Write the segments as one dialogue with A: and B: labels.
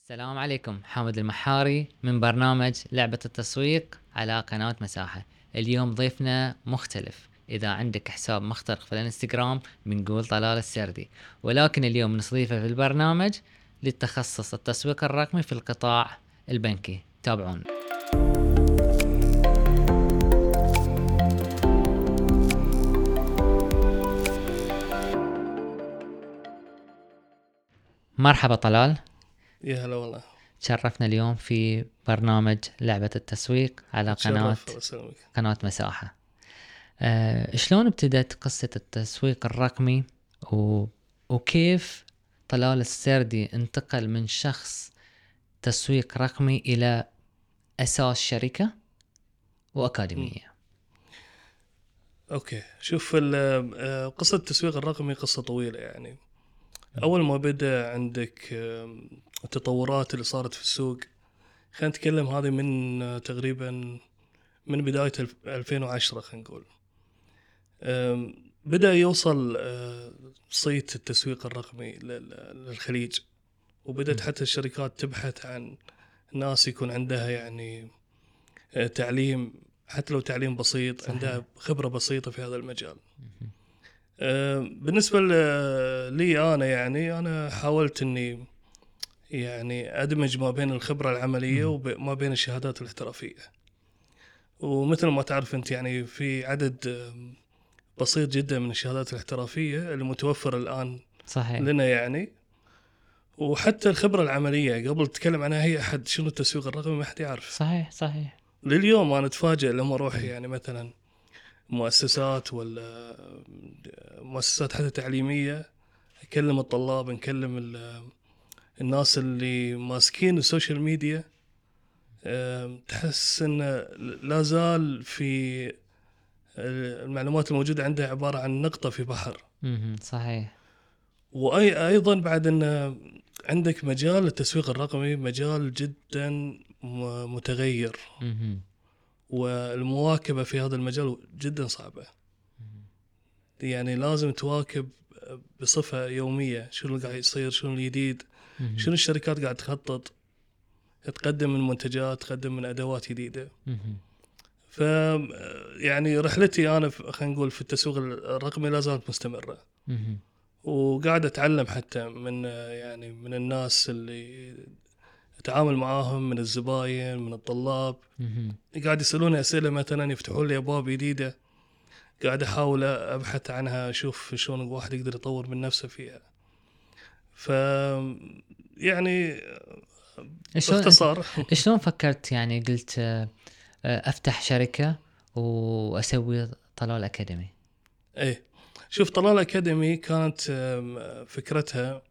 A: السلام عليكم حامد المحاري من برنامج لعبة التسويق على قناة مساحة اليوم ضيفنا مختلف إذا عندك حساب مخترق في الانستغرام بنقول طلال السردي ولكن اليوم نستضيفه في البرنامج للتخصص التسويق الرقمي في القطاع البنكي تابعونا مرحبا طلال
B: يا هلا والله
A: تشرفنا اليوم في برنامج لعبة التسويق على قناة
B: تشرف الله يسلمك
A: قناة مساحة أه شلون ابتدت قصة التسويق الرقمي و... وكيف طلال السردي انتقل من شخص تسويق رقمي إلى أساس شركة وأكاديمية
B: اوكي شوف ال- آه، قصه التسويق الرقمي قصه طويله يعني اول ما بدا عندك آم، التطورات اللي صارت في السوق خلينا نتكلم هذه من آه، تقريبا من بدايه الف- 2010 خلينا نقول آم، بدا يوصل آه، صيت التسويق الرقمي لل- للخليج وبدات حتى الشركات تبحث عن ناس يكون عندها يعني آه، تعليم حتى لو تعليم بسيط
A: صحيح.
B: عندها خبره بسيطه في هذا المجال آه، بالنسبه ل- لي انا يعني انا حاولت اني يعني ادمج ما بين الخبره العمليه وما بين الشهادات الاحترافيه ومثل ما تعرف انت يعني في عدد آم، بسيط جدا من الشهادات الاحترافيه المتوفر الان
A: صحيح
B: لنا يعني وحتى الخبره العمليه قبل تتكلم عنها هي احد شنو التسويق الرقمي ما حد يعرف
A: صحيح صحيح
B: لليوم انا اتفاجئ لما اروح يعني مثلا مؤسسات ولا مؤسسات حتى تعليميه اكلم الطلاب نكلم ال- الناس اللي ماسكين السوشيال ميديا أم، تحس ان لا زال في المعلومات الموجوده عنده عباره عن نقطه في بحر
A: مهم. صحيح
B: واي ايضا بعد ان عندك مجال التسويق الرقمي مجال جدا م- متغير
A: مهم.
B: والمواكبه في هذا المجال جدا صعبه يعني لازم تواكب بصفه يوميه شنو قاعد يصير شنو الجديد
A: مهم.
B: شنو الشركات قاعد تخطط تقدم من منتجات تقدم من ادوات جديده
A: مهم.
B: ف يعني رحلتي انا في- خلينا نقول في التسويق الرقمي لا زالت مستمره
A: مهم.
B: وقاعد اتعلم حتى من يعني من الناس اللي اتعامل معاهم من الزباين من الطلاب
A: مهم.
B: قاعد يسالوني اسئله مثلا يفتحون لي ابواب جديده قاعد احاول ابحث عنها اشوف شلون الواحد يقدر يطور من نفسه فيها ف يعني
A: شلون أنت-
B: باختصار
A: شلون فكرت يعني قلت آه، آه، افتح شركه واسوي طلال اكاديمي
B: ايه شوف طلال اكاديمي كانت آم، فكرتها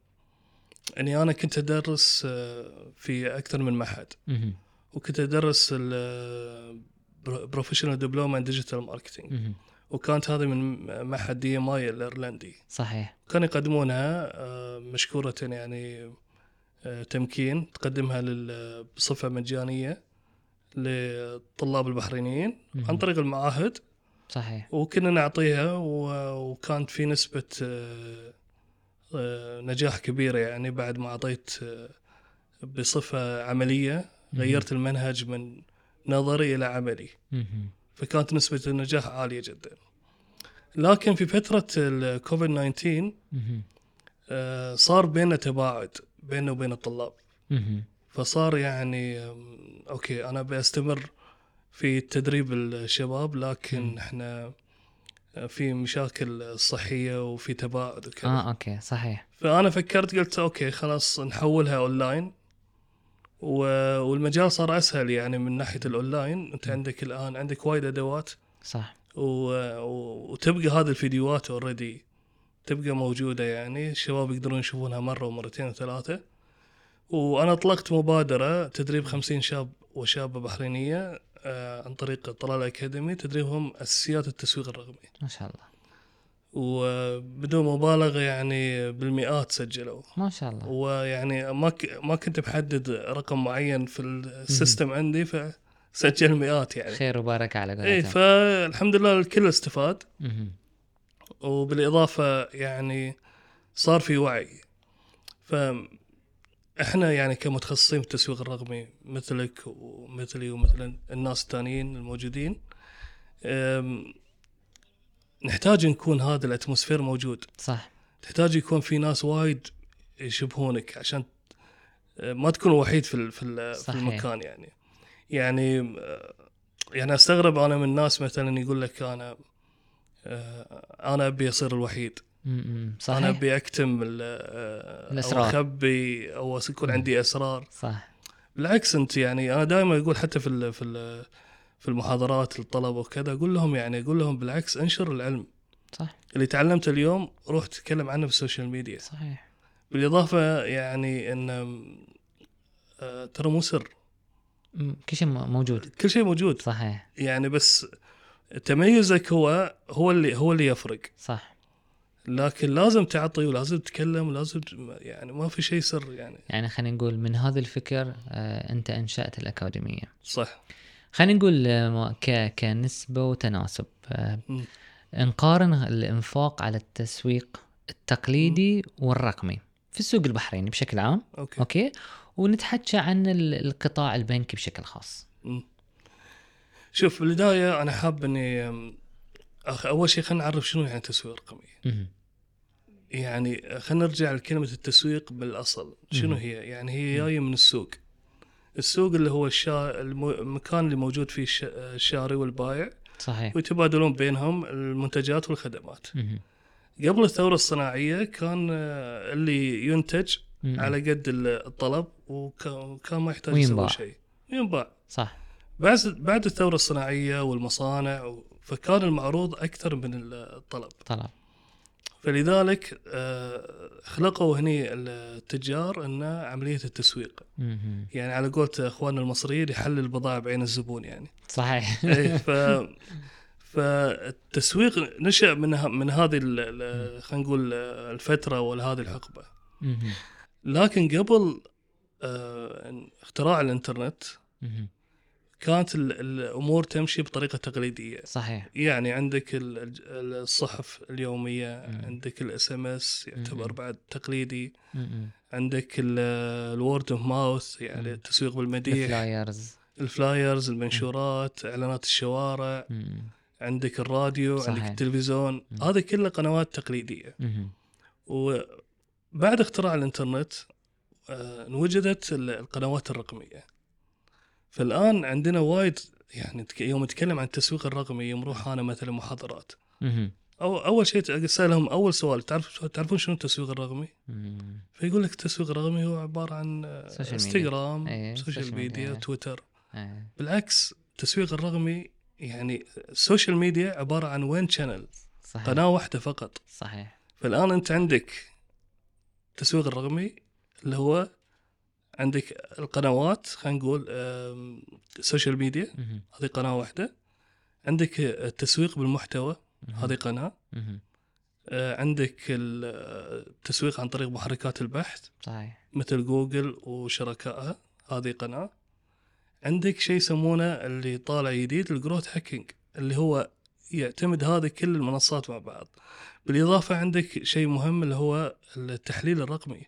B: اني انا كنت ادرس آه، في اكثر من معهد
A: مهم.
B: وكنت آه، ادرس البروفيشنال دبلوم ان ديجيتال ماركتنج
A: مهم.
B: وكانت هذه من معهد دي ام اي الايرلندي
A: صحيح
B: كانوا يقدمونها آه، مشكوره يعني آه، تمكين تقدمها لل- بصفه مجانيه للطلاب البحرينيين
A: مهم.
B: عن طريق المعاهد
A: صحيح
B: وكنا نعطيها و- وكانت في نسبة آه، آه، نجاح كبيرة يعني بعد ما أعطيت آه، بصفة عملية
A: مهم.
B: غيرت المنهج من نظري إلى عملي
A: مهم.
B: فكانت نسبة النجاح عالية جدا لكن في فترة الكوفيد 19
A: مهم.
B: آه، صار بيننا تباعد بيننا وبين الطلاب
A: مهم.
B: فصار يعني أم، اوكي انا بستمر في تدريب الشباب لكن
A: مم.
B: احنا في مشاكل صحيه وفي تباعد وكذا آه.
A: اه اوكي صحيح
B: فانا فكرت قلت اوكي خلاص نحولها اونلاين و- والمجال صار اسهل يعني من ناحيه الاونلاين انت عندك الان عندك وايد ادوات
A: صح
B: و- و- وتبقى هذه الفيديوهات اوريدي تبقى موجوده يعني الشباب يقدرون يشوفونها مره ومرتين وثلاثه وانا اطلقت مبادره تدريب 50 شاب وشابه بحرينيه آه، عن طريق طلال اكاديمي تدريبهم اساسيات التسويق الرقمي
A: ما شاء الله
B: وبدون مبالغه يعني بالمئات سجلوا
A: ما شاء الله
B: ويعني ما ك- ما كنت محدد رقم معين في السيستم عندي فسجل مئات يعني
A: خير وبركه على
B: اي
A: قولتهم
B: فالحمد لله الكل استفاد
A: مهم.
B: وبالإضافة يعني صار في وعي ف احنا يعني كمتخصصين في التسويق الرقمي مثلك ومثلي ومثل الناس الثانيين الموجودين أم، نحتاج نكون هذا الاتموسفير موجود
A: صح
B: تحتاج يكون في ناس وايد يشبهونك عشان أه، ما تكون وحيد في ال- في ال- في
A: صحيح.
B: المكان يعني يعني أه، يعني استغرب انا من الناس مثلا يقول لك انا أه، انا ابي اصير الوحيد
A: م- م.
B: انا
A: صحيح
B: ابي اكتم ال- آه،
A: الأسرار.
B: او اخبي او يكون عندي اسرار
A: صح
B: بالعكس انت يعني انا دائما اقول حتى في ال في ال في المحاضرات للطلبه وكذا اقول لهم يعني اقول لهم بالعكس انشر العلم
A: صح
B: اللي تعلمته اليوم روح تتكلم عنه في السوشيال ميديا
A: صحيح
B: بالاضافه يعني ان آه، ترى مو سر
A: م- كل شيء م- موجود
B: كل شيء موجود
A: صحيح
B: يعني بس تميزك هو هو اللي هو اللي يفرق
A: صح
B: لكن لازم تعطي ولازم تتكلم ولازم يعني ما في شيء سر يعني
A: يعني خلينا نقول من هذا الفكر آه، انت انشات الاكاديميه
B: صح
A: خلينا نقول آه، ما- ك... كنسبة وتناسب آه،
B: مم.
A: نقارن الإنفاق على التسويق التقليدي والرقمي في السوق البحريني بشكل عام
B: اوكي
A: أوكي ونتحكى عن ال- القطاع البنكي بشكل خاص
B: مم. شوف في البدايه انا حاب اني أم، أخ- اول شيء خلينا نعرف شنو يعني تسويق رقمي
A: مهم.
B: يعني خلينا نرجع لكلمه التسويق بالاصل شنو
A: مم.
B: هي يعني هي جايه من السوق السوق اللي هو الشا... المو- المكان اللي موجود فيه الش- آه، الشاري والبائع
A: صحيح
B: ويتبادلون بينهم المنتجات والخدمات
A: مهم.
B: قبل الثوره الصناعيه كان آه، اللي ينتج
A: مهم.
B: على قد ال- الطلب وك- وكان ما يحتاج
A: وينباع.
B: يسوي شيء ينباع
A: صح
B: بعد بعد الثوره الصناعيه والمصانع و- فكان المعروض اكثر من الطلب
A: طلب
B: فلذلك آه، خلقوا هني التجار ان عمليه التسويق
A: مهم.
B: يعني على قولة اخواننا المصريين يحل البضاعه بعين الزبون يعني
A: صحيح
B: إيه، ف فالتسويق نشا من ه- من هذه ال- ال- خلينا نقول آه، الفتره ولا هذه الحقبه
A: مهم.
B: لكن قبل آه، اختراع الانترنت
A: مهم.
B: كانت ال- الامور تمشي بطريقه تقليديه
A: صحيح
B: يعني عندك ال- الج- الصحف اليوميه
A: مم.
B: عندك الاس ام اس يعتبر
A: مم.
B: بعد تقليدي
A: مهم.
B: عندك الورد اوف ماوث يعني
A: مم.
B: التسويق بالمديح
A: الفلايرز
B: الفلايرز المنشورات اعلانات الشوارع
A: مهم.
B: عندك الراديو صحيح.
A: صحيح.
B: عندك التلفزيون
A: مم.
B: هذه كلها قنوات تقليديه
A: مهم.
B: وبعد اختراع الانترنت آه، انوجدت ال- القنوات الرقميه فالان عندنا وايد يعني تك- يوم نتكلم عن التسويق الرقمي يوم نروح انا مثلا محاضرات
A: مهم.
B: او اول شيء اسالهم اول سؤال تعرف تعرفون شنو التسويق الرقمي؟
A: مهم.
B: فيقول لك التسويق الرقمي هو عباره عن آه،
A: سوشيال ميديا.
B: انستغرام
A: إيه، سوشيال
B: سوشيال
A: ميديا،
B: ميديا
A: إيه.
B: تويتر
A: إيه.
B: بالعكس التسويق الرقمي يعني السوشيال ميديا عباره عن وين شانل
A: صحيح
B: قناه واحده فقط
A: صحيح
B: فالان انت عندك التسويق الرقمي اللي هو عندك القنوات خلينا نقول آم، السوشيال ميديا
A: مهم.
B: هذه قناه واحده عندك التسويق بالمحتوى
A: مهم.
B: هذه قناه
A: مهم.
B: آه، عندك ال- آه، التسويق عن طريق محركات البحث
A: صحيح
B: مثل جوجل وشركائها هذه قناه عندك شيء يسمونه اللي طالع جديد الجروث هاكينج اللي هو يعتمد هذه كل المنصات مع بعض بالاضافه عندك شيء مهم اللي هو التحليل الرقمي
A: مهم.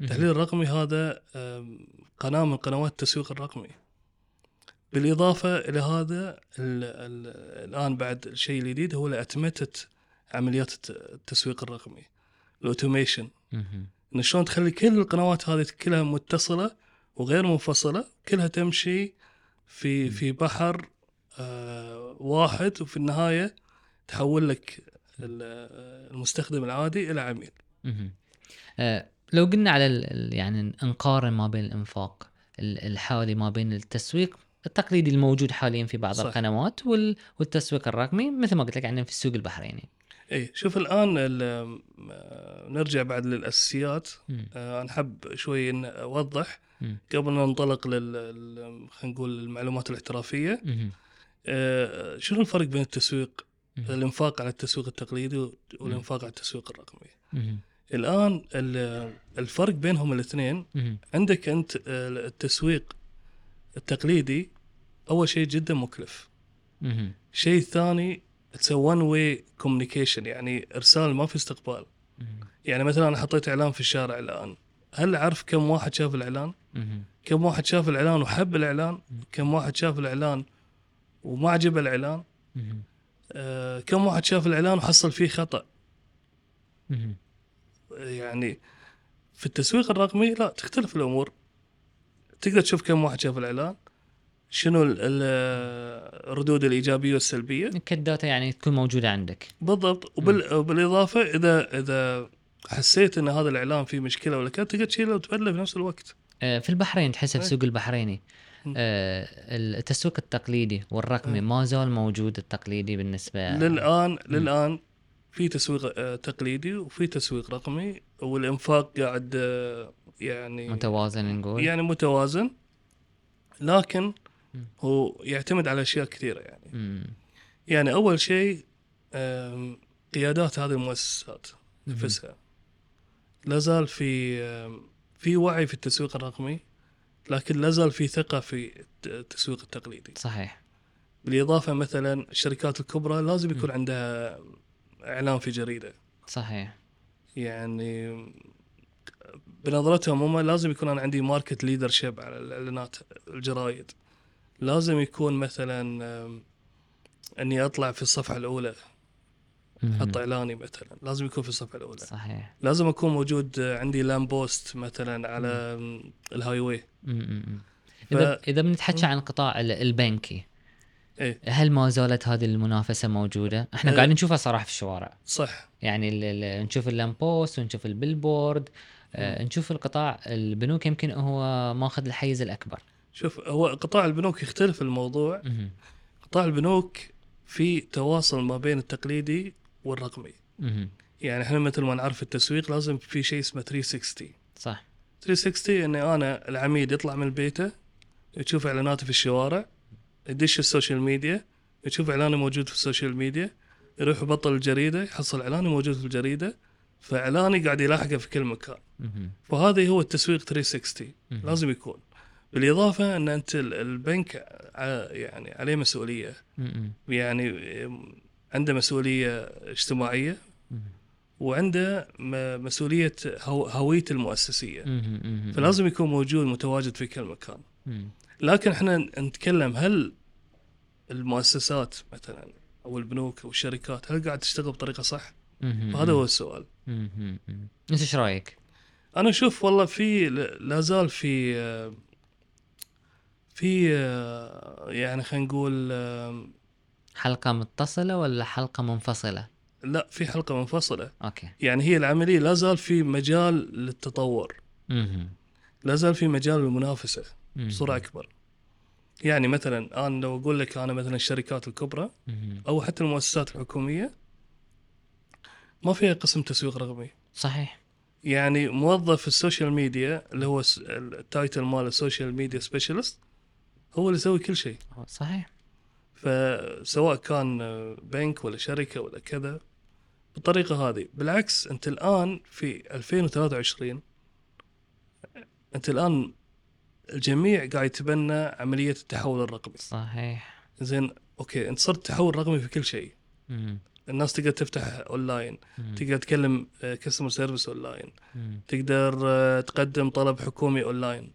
B: التحليل الرقمي هذا آم، قناه من قنوات التسويق الرقمي بالاضافه الى هذا ال ال الان بعد الشيء الجديد هو اتمته عمليات الت- التسويق الرقمي الاوتوميشن
A: مهم.
B: ان شلون تخلي كل القنوات هذه كلها متصله وغير منفصله كلها تمشي في في بحر آه واحد وفي النهايه تحول لك ال- آه، المستخدم العادي الى عميل
A: مهم. آه، لو قلنا على ال- ال- يعني نقارن ما بين الانفاق ال- الحالي ما بين التسويق التقليدي الموجود حاليا في بعض
B: صح.
A: القنوات وال- والتسويق الرقمي مثل ما قلت لك عندنا في السوق البحريني
B: اي إيه، شوف الان ال- آه، نرجع بعد للاساسيات
A: مم.
B: آه انا حاب شوي ان اوضح
A: مم.
B: قبل أن ننطلق لل ال- خلينا نقول المعلومات الاحترافيه
A: مهم.
B: آه شنو الفرق بين التسويق
A: مهم.
B: الانفاق على التسويق التقليدي والانفاق على التسويق الرقمي
A: مهم.
B: الان ال- الفرق بينهم الاثنين
A: مهم.
B: عندك انت التسويق التقليدي اول شيء جدا مكلف
A: مهم.
B: شيء ثاني اتس وان واي كوميونيكيشن يعني ارسال ما في استقبال
A: مهم.
B: يعني مثلا انا حطيت اعلان في الشارع الان هل عارف كم واحد شاف الاعلان؟
A: مهم.
B: كم واحد شاف الاعلان وحب الاعلان؟ كم واحد شاف الاعلان وما عجبه الاعلان؟
A: مهم.
B: آه، كم واحد شاف الاعلان وحصل فيه خطا؟
A: مهم.
B: يعني في التسويق الرقمي لا تختلف الامور تقدر تشوف كم واحد شاف الاعلان شنو ال- ال- الردود الايجابيه والسلبيه
A: كالداتا يعني تكون موجوده عندك
B: بالضبط وبال... وبالاضافه اذا اذا حسيت ان هذا الاعلان فيه مشكله ولا كذا تقدر تشيله وتبدله في نفس الوقت
A: آه، في البحرين تحسه
B: إيه.
A: السوق البحريني
B: مم.
A: آه، التسويق التقليدي والرقمي
B: إيه.
A: ما زال موجود التقليدي بالنسبه
B: للان للان في تسويق آه، تقليدي وفي تسويق رقمي والانفاق قاعد آه، يعني
A: متوازن نقول
B: يعني متوازن لكن
A: مم.
B: هو يعتمد على اشياء كثيره يعني
A: مم.
B: يعني اول شيء آم، قيادات هذه المؤسسات
A: مم.
B: نفسها لا زال في آم، في وعي في التسويق الرقمي لكن لا زال في ثقه في الت- التسويق التقليدي
A: صحيح
B: بالاضافه مثلا الشركات الكبرى لازم يكون عندها اعلان في جريده
A: صحيح
B: يعني بنظرتهم هم لازم يكون انا عندي ماركت ليدر شيب على الاعلانات الجرايد لازم يكون مثلا أم، اني اطلع في الصفحه الاولى
A: مهم.
B: حط اعلاني مثلا لازم يكون في الصفحه الاولى
A: صحيح
B: لازم اكون موجود آه، عندي لام بوست مثلا على أم، الهاي واي
A: مم. مم.
B: ف-
A: اذا اذا بنتحكى
B: مم.
A: عن القطاع ال- البنكي
B: إيه.
A: هل ما زالت هذه المنافسه موجوده؟ احنا
B: آه.
A: قاعدين نشوفها صراحه في الشوارع
B: صح
A: يعني ال- ال- نشوف اللامبوست ونشوف البيلبورد آه، نشوف القطاع البنوك يمكن هو ماخذ الحيز الاكبر
B: شوف هو قطاع البنوك يختلف الموضوع
A: مهم.
B: قطاع البنوك في تواصل ما بين التقليدي والرقمي
A: مهم.
B: يعني احنا مثل ما نعرف التسويق لازم في شيء اسمه 360
A: صح
B: 360 اني انا العميد يطلع من بيته يشوف اعلاناتي في الشوارع يدش السوشيال ميديا يشوف اعلاني موجود في السوشيال ميديا يروح يبطل الجريده يحصل اعلاني موجود في الجريده فاعلاني قاعد يلاحقه في كل مكان
A: مهم.
B: فهذا هو التسويق 360
A: مهم.
B: لازم يكون بالاضافه ان انت ال- البنك ع- يعني عليه مسؤوليه
A: مهم.
B: يعني ام، عنده مسؤوليه اجتماعيه
A: مهم.
B: وعنده م- مسؤوليه هو- هويته المؤسسيه
A: مهم. مهم.
B: فلازم يكون موجود متواجد في كل مكان
A: مهم.
B: لكن احنا نتكلم هل المؤسسات مثلا او البنوك او الشركات هل قاعد تشتغل بطريقه صح؟
A: مهم.
B: هذا هو السؤال.
A: مهم. مهم. انت ايش رايك؟
B: انا اشوف والله في ل- لا زال في آه، في آه، يعني خلينا نقول آه،
A: حلقه متصله ولا حلقه منفصله؟
B: لا في حلقه منفصله
A: اوكي
B: يعني هي العمليه لا زال في مجال للتطور
A: مهم.
B: لا زال في مجال للمنافسه
A: مهم.
B: بصوره اكبر. يعني مثلا انا لو اقول لك انا مثلا الشركات الكبرى
A: مهم.
B: او حتى المؤسسات الحكوميه ما فيها قسم تسويق رقمي
A: صحيح
B: يعني موظف السوشيال ميديا اللي هو س- التايتل ماله سوشيال ميديا سبيشالست هو اللي يسوي كل شيء
A: صحيح
B: فسواء كان بنك ولا شركه ولا كذا بالطريقه هذه بالعكس انت الان في 2023 انت الان الجميع قاعد يتبنى عمليه التحول الرقمي
A: صحيح
B: زين اوكي انت صرت تحول رقمي في كل شيء
A: مهم.
B: الناس تقدر تفتح اونلاين
A: مهم.
B: تقدر تكلم آه، كاستمر سيرفيس اونلاين
A: مهم.
B: تقدر آه، تقدم طلب حكومي اونلاين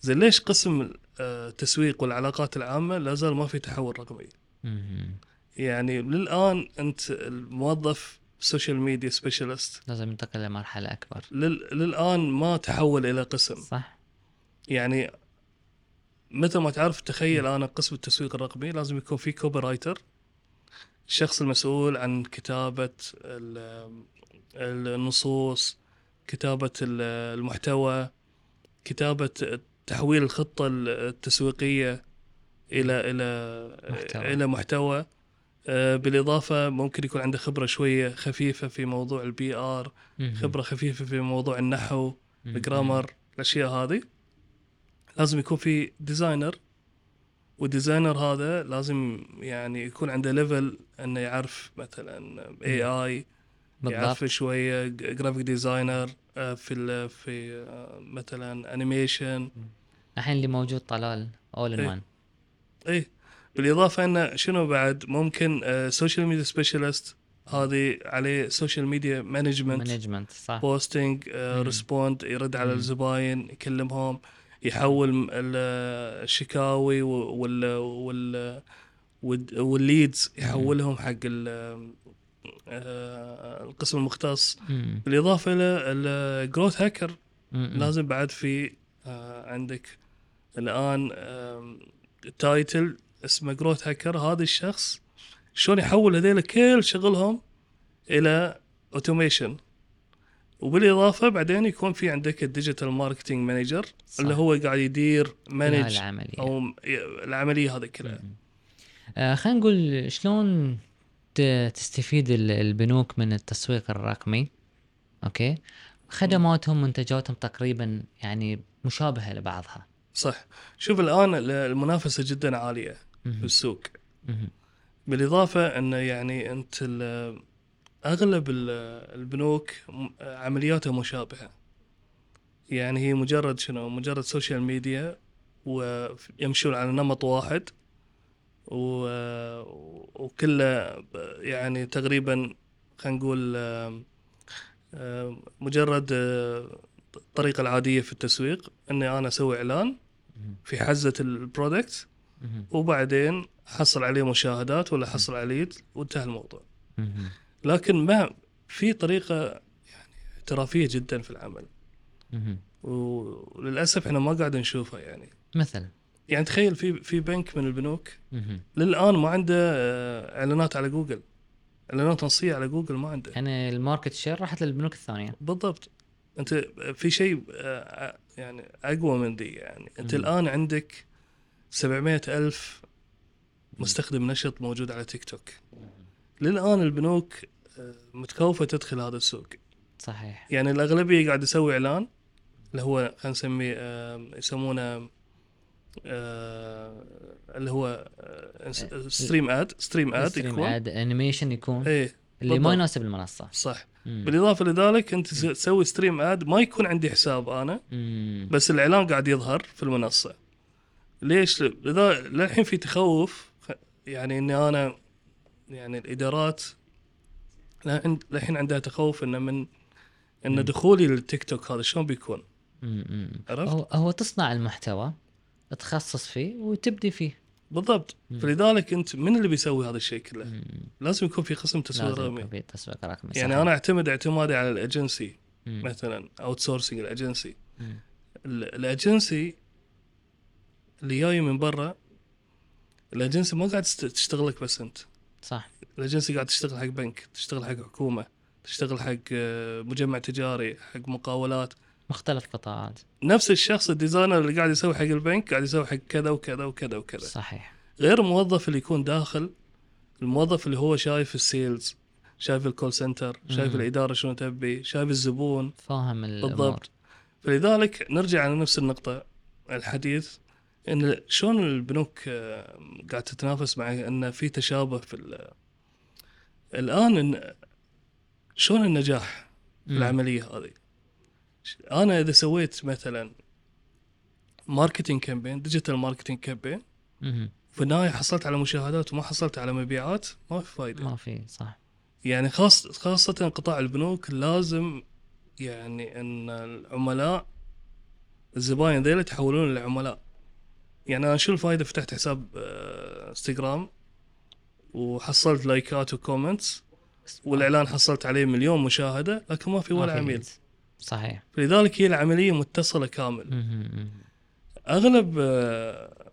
B: زين ليش قسم آه، التسويق والعلاقات العامه لا زال ما في تحول رقمي
A: مهم.
B: يعني للان انت الموظف سوشيال ميديا سبيشالست
A: لازم ننتقل لمرحله اكبر
B: للان ما تحول الى قسم
A: صح
B: يعني مثل ما تعرف تخيل انا قسم التسويق الرقمي لازم يكون في كوبي رايتر الشخص المسؤول عن كتابة ال- النصوص كتابة ال- المحتوى كتابة تحويل الخطة التسويقية إلى إلى
A: محتوى.
B: محتوى. إلى محتوى آه، بالإضافة ممكن يكون عنده خبرة شوية خفيفة في موضوع البي آر
A: مهم.
B: خبرة خفيفة في موضوع النحو
A: مهم.
B: الجرامر الاشياء هذه لازم يكون في ديزاينر والديزاينر هذا لازم يعني يكون عنده ليفل انه يعرف مثلا اي اي يعرف
A: بالضبط
B: شويه جرافيك ديزاينر آه، في ال في آه، مثلا انيميشن
A: الحين اللي موجود طلال اول ان
B: إيه.
A: وان
B: آه، اي بالاضافه انه شنو بعد ممكن سوشيال ميديا سبيشالست هذه عليه سوشيال ميديا مانجمنت
A: مانجمنت صح
B: بوستنج
A: مم.
B: ريسبوند uh, يرد على
A: مم.
B: الزباين يكلمهم يحول م- ال- الشكاوي و- وال وال والد- والليدز يحولهم حق ال- آه، القسم المختص
A: مم.
B: بالاضافه الى الجروث هاكر
A: مم.
B: لازم بعد في آه، عندك الان آم، تايتل اسمه جروث هاكر هذا الشخص شلون يحول هذيلا كل شغلهم الى اوتوميشن وبالاضافه بعدين يكون في عندك الديجيتال ماركتنج مانجر
A: صح.
B: اللي هو قاعد يدير
A: بناء
B: مانج
A: العملية
B: او م- العمليه هذه كلها
A: مم. آه خلينا نقول شلون ت- تستفيد ال- البنوك من التسويق الرقمي اوكي خدماتهم منتجاتهم تقريبا يعني مشابهه لبعضها
B: صح شوف الان ال- المنافسه جدا عاليه في
A: مهم.
B: السوق
A: مهم.
B: بالإضافة أنه يعني أنت ال- أغلب ال- البنوك م- عملياتها مشابهة يعني هي مجرد شنو مجرد سوشيال ميديا ويمشون على نمط واحد و... وكله ب- يعني تقريبا خلينا نقول آم، آم، مجرد آه، الطريقة العادية في التسويق أني أنا أسوي إعلان
A: مهم.
B: في حزة البرودكت
A: مهم.
B: وبعدين حصل عليه مشاهدات ولا حصل عليه وانتهى الموضوع
A: مهم.
B: لكن ما في طريقه يعني احترافيه جدا في العمل
A: مهم.
B: وللاسف احنا ما قاعد نشوفها يعني
A: مثل
B: يعني تخيل في في بنك من البنوك
A: مهم.
B: للان ما عنده آه، اعلانات على جوجل اعلانات نصيه على جوجل ما عنده
A: يعني الماركت شير راحت للبنوك الثانيه
B: بالضبط انت في شيء آه، يعني اقوى من دي يعني انت
A: مم.
B: الان عندك 700 الف مستخدم نشط موجود على تيك توك للان البنوك آه، متخوفه تدخل هذا السوق
A: صحيح
B: يعني الاغلبيه قاعد يسوي اعلان اللي هو خلينا نسميه آه، يسمونه آه، اللي هو آه،
A: آه،
B: ستريم اد ستريم اد
A: ستريم
B: يكون
A: اد انيميشن يكون
B: اي
A: اللي ما
B: بالضبط.
A: يناسب المنصه
B: صح
A: مم.
B: بالاضافه لذلك انت تس- تسوي ستريم اد ما يكون عندي حساب انا
A: مم.
B: بس الاعلان قاعد يظهر في المنصه ليش لذا للحين في تخوف خ- يعني اني انا يعني الادارات للحين- للحين عندها تخوف انه من
A: مم.
B: ان دخولي للتيك توك هذا شلون بيكون
A: مم. مم.
B: عرفت؟
A: هو هو تصنع المحتوى تخصص فيه وتبدي فيه
B: بالضبط
A: مم.
B: فلذلك انت من اللي بيسوي هذا الشيء كله؟
A: مم.
B: لازم يكون في قسم تسويق
A: لازم يكون
B: رقمي
A: في تسويق رقمي
B: يعني
A: صحيح.
B: انا اعتمد اعتمادي على الاجنسي
A: مم.
B: مثلا اوت سورسنج الاجنسي
A: مم.
B: ال- الاجنسي اللي جاي من برا الاجنسي ما قاعد تست- تشتغل لك بس انت
A: صح
B: الاجنسي قاعد تشتغل حق بنك تشتغل حق حكومه تشتغل حق آه، مجمع تجاري حق مقاولات
A: مختلف قطاعات
B: نفس الشخص الديزاينر اللي قاعد يسوي حق البنك قاعد يسوي حق كذا وكذا وكذا وكذا
A: صحيح
B: غير الموظف اللي يكون داخل الموظف اللي هو شايف السيلز شايف الكول سنتر شايف
A: مم.
B: الاداره شنو تبي شايف الزبون
A: فاهم الامور
B: بالضبط فلذلك نرجع على نفس النقطه الحديث ان شلون البنوك آه، قاعد تتنافس مع ان في تشابه في ال- الان إن شلون النجاح في
A: مم.
B: العمليه هذه ش- انا اذا سويت مثلا ماركتنج كامبين ديجيتال ماركتنج كامبين
A: مم.
B: في النهايه حصلت على مشاهدات وما حصلت على مبيعات ما في فايده
A: ما في صح
B: يعني خاص خاصه قطاع البنوك لازم يعني ان العملاء الزباين ذيلا يتحولون لعملاء يعني انا شو الفائده فتحت حساب آه، انستغرام وحصلت لايكات وكومنتس والاعلان حصلت عليه مليون مشاهده لكن ما في
A: ما
B: ولا
A: في
B: عميل
A: leads. صحيح
B: فلذلك هي العمليه متصله كامل
A: مم. مم.
B: اغلب آه،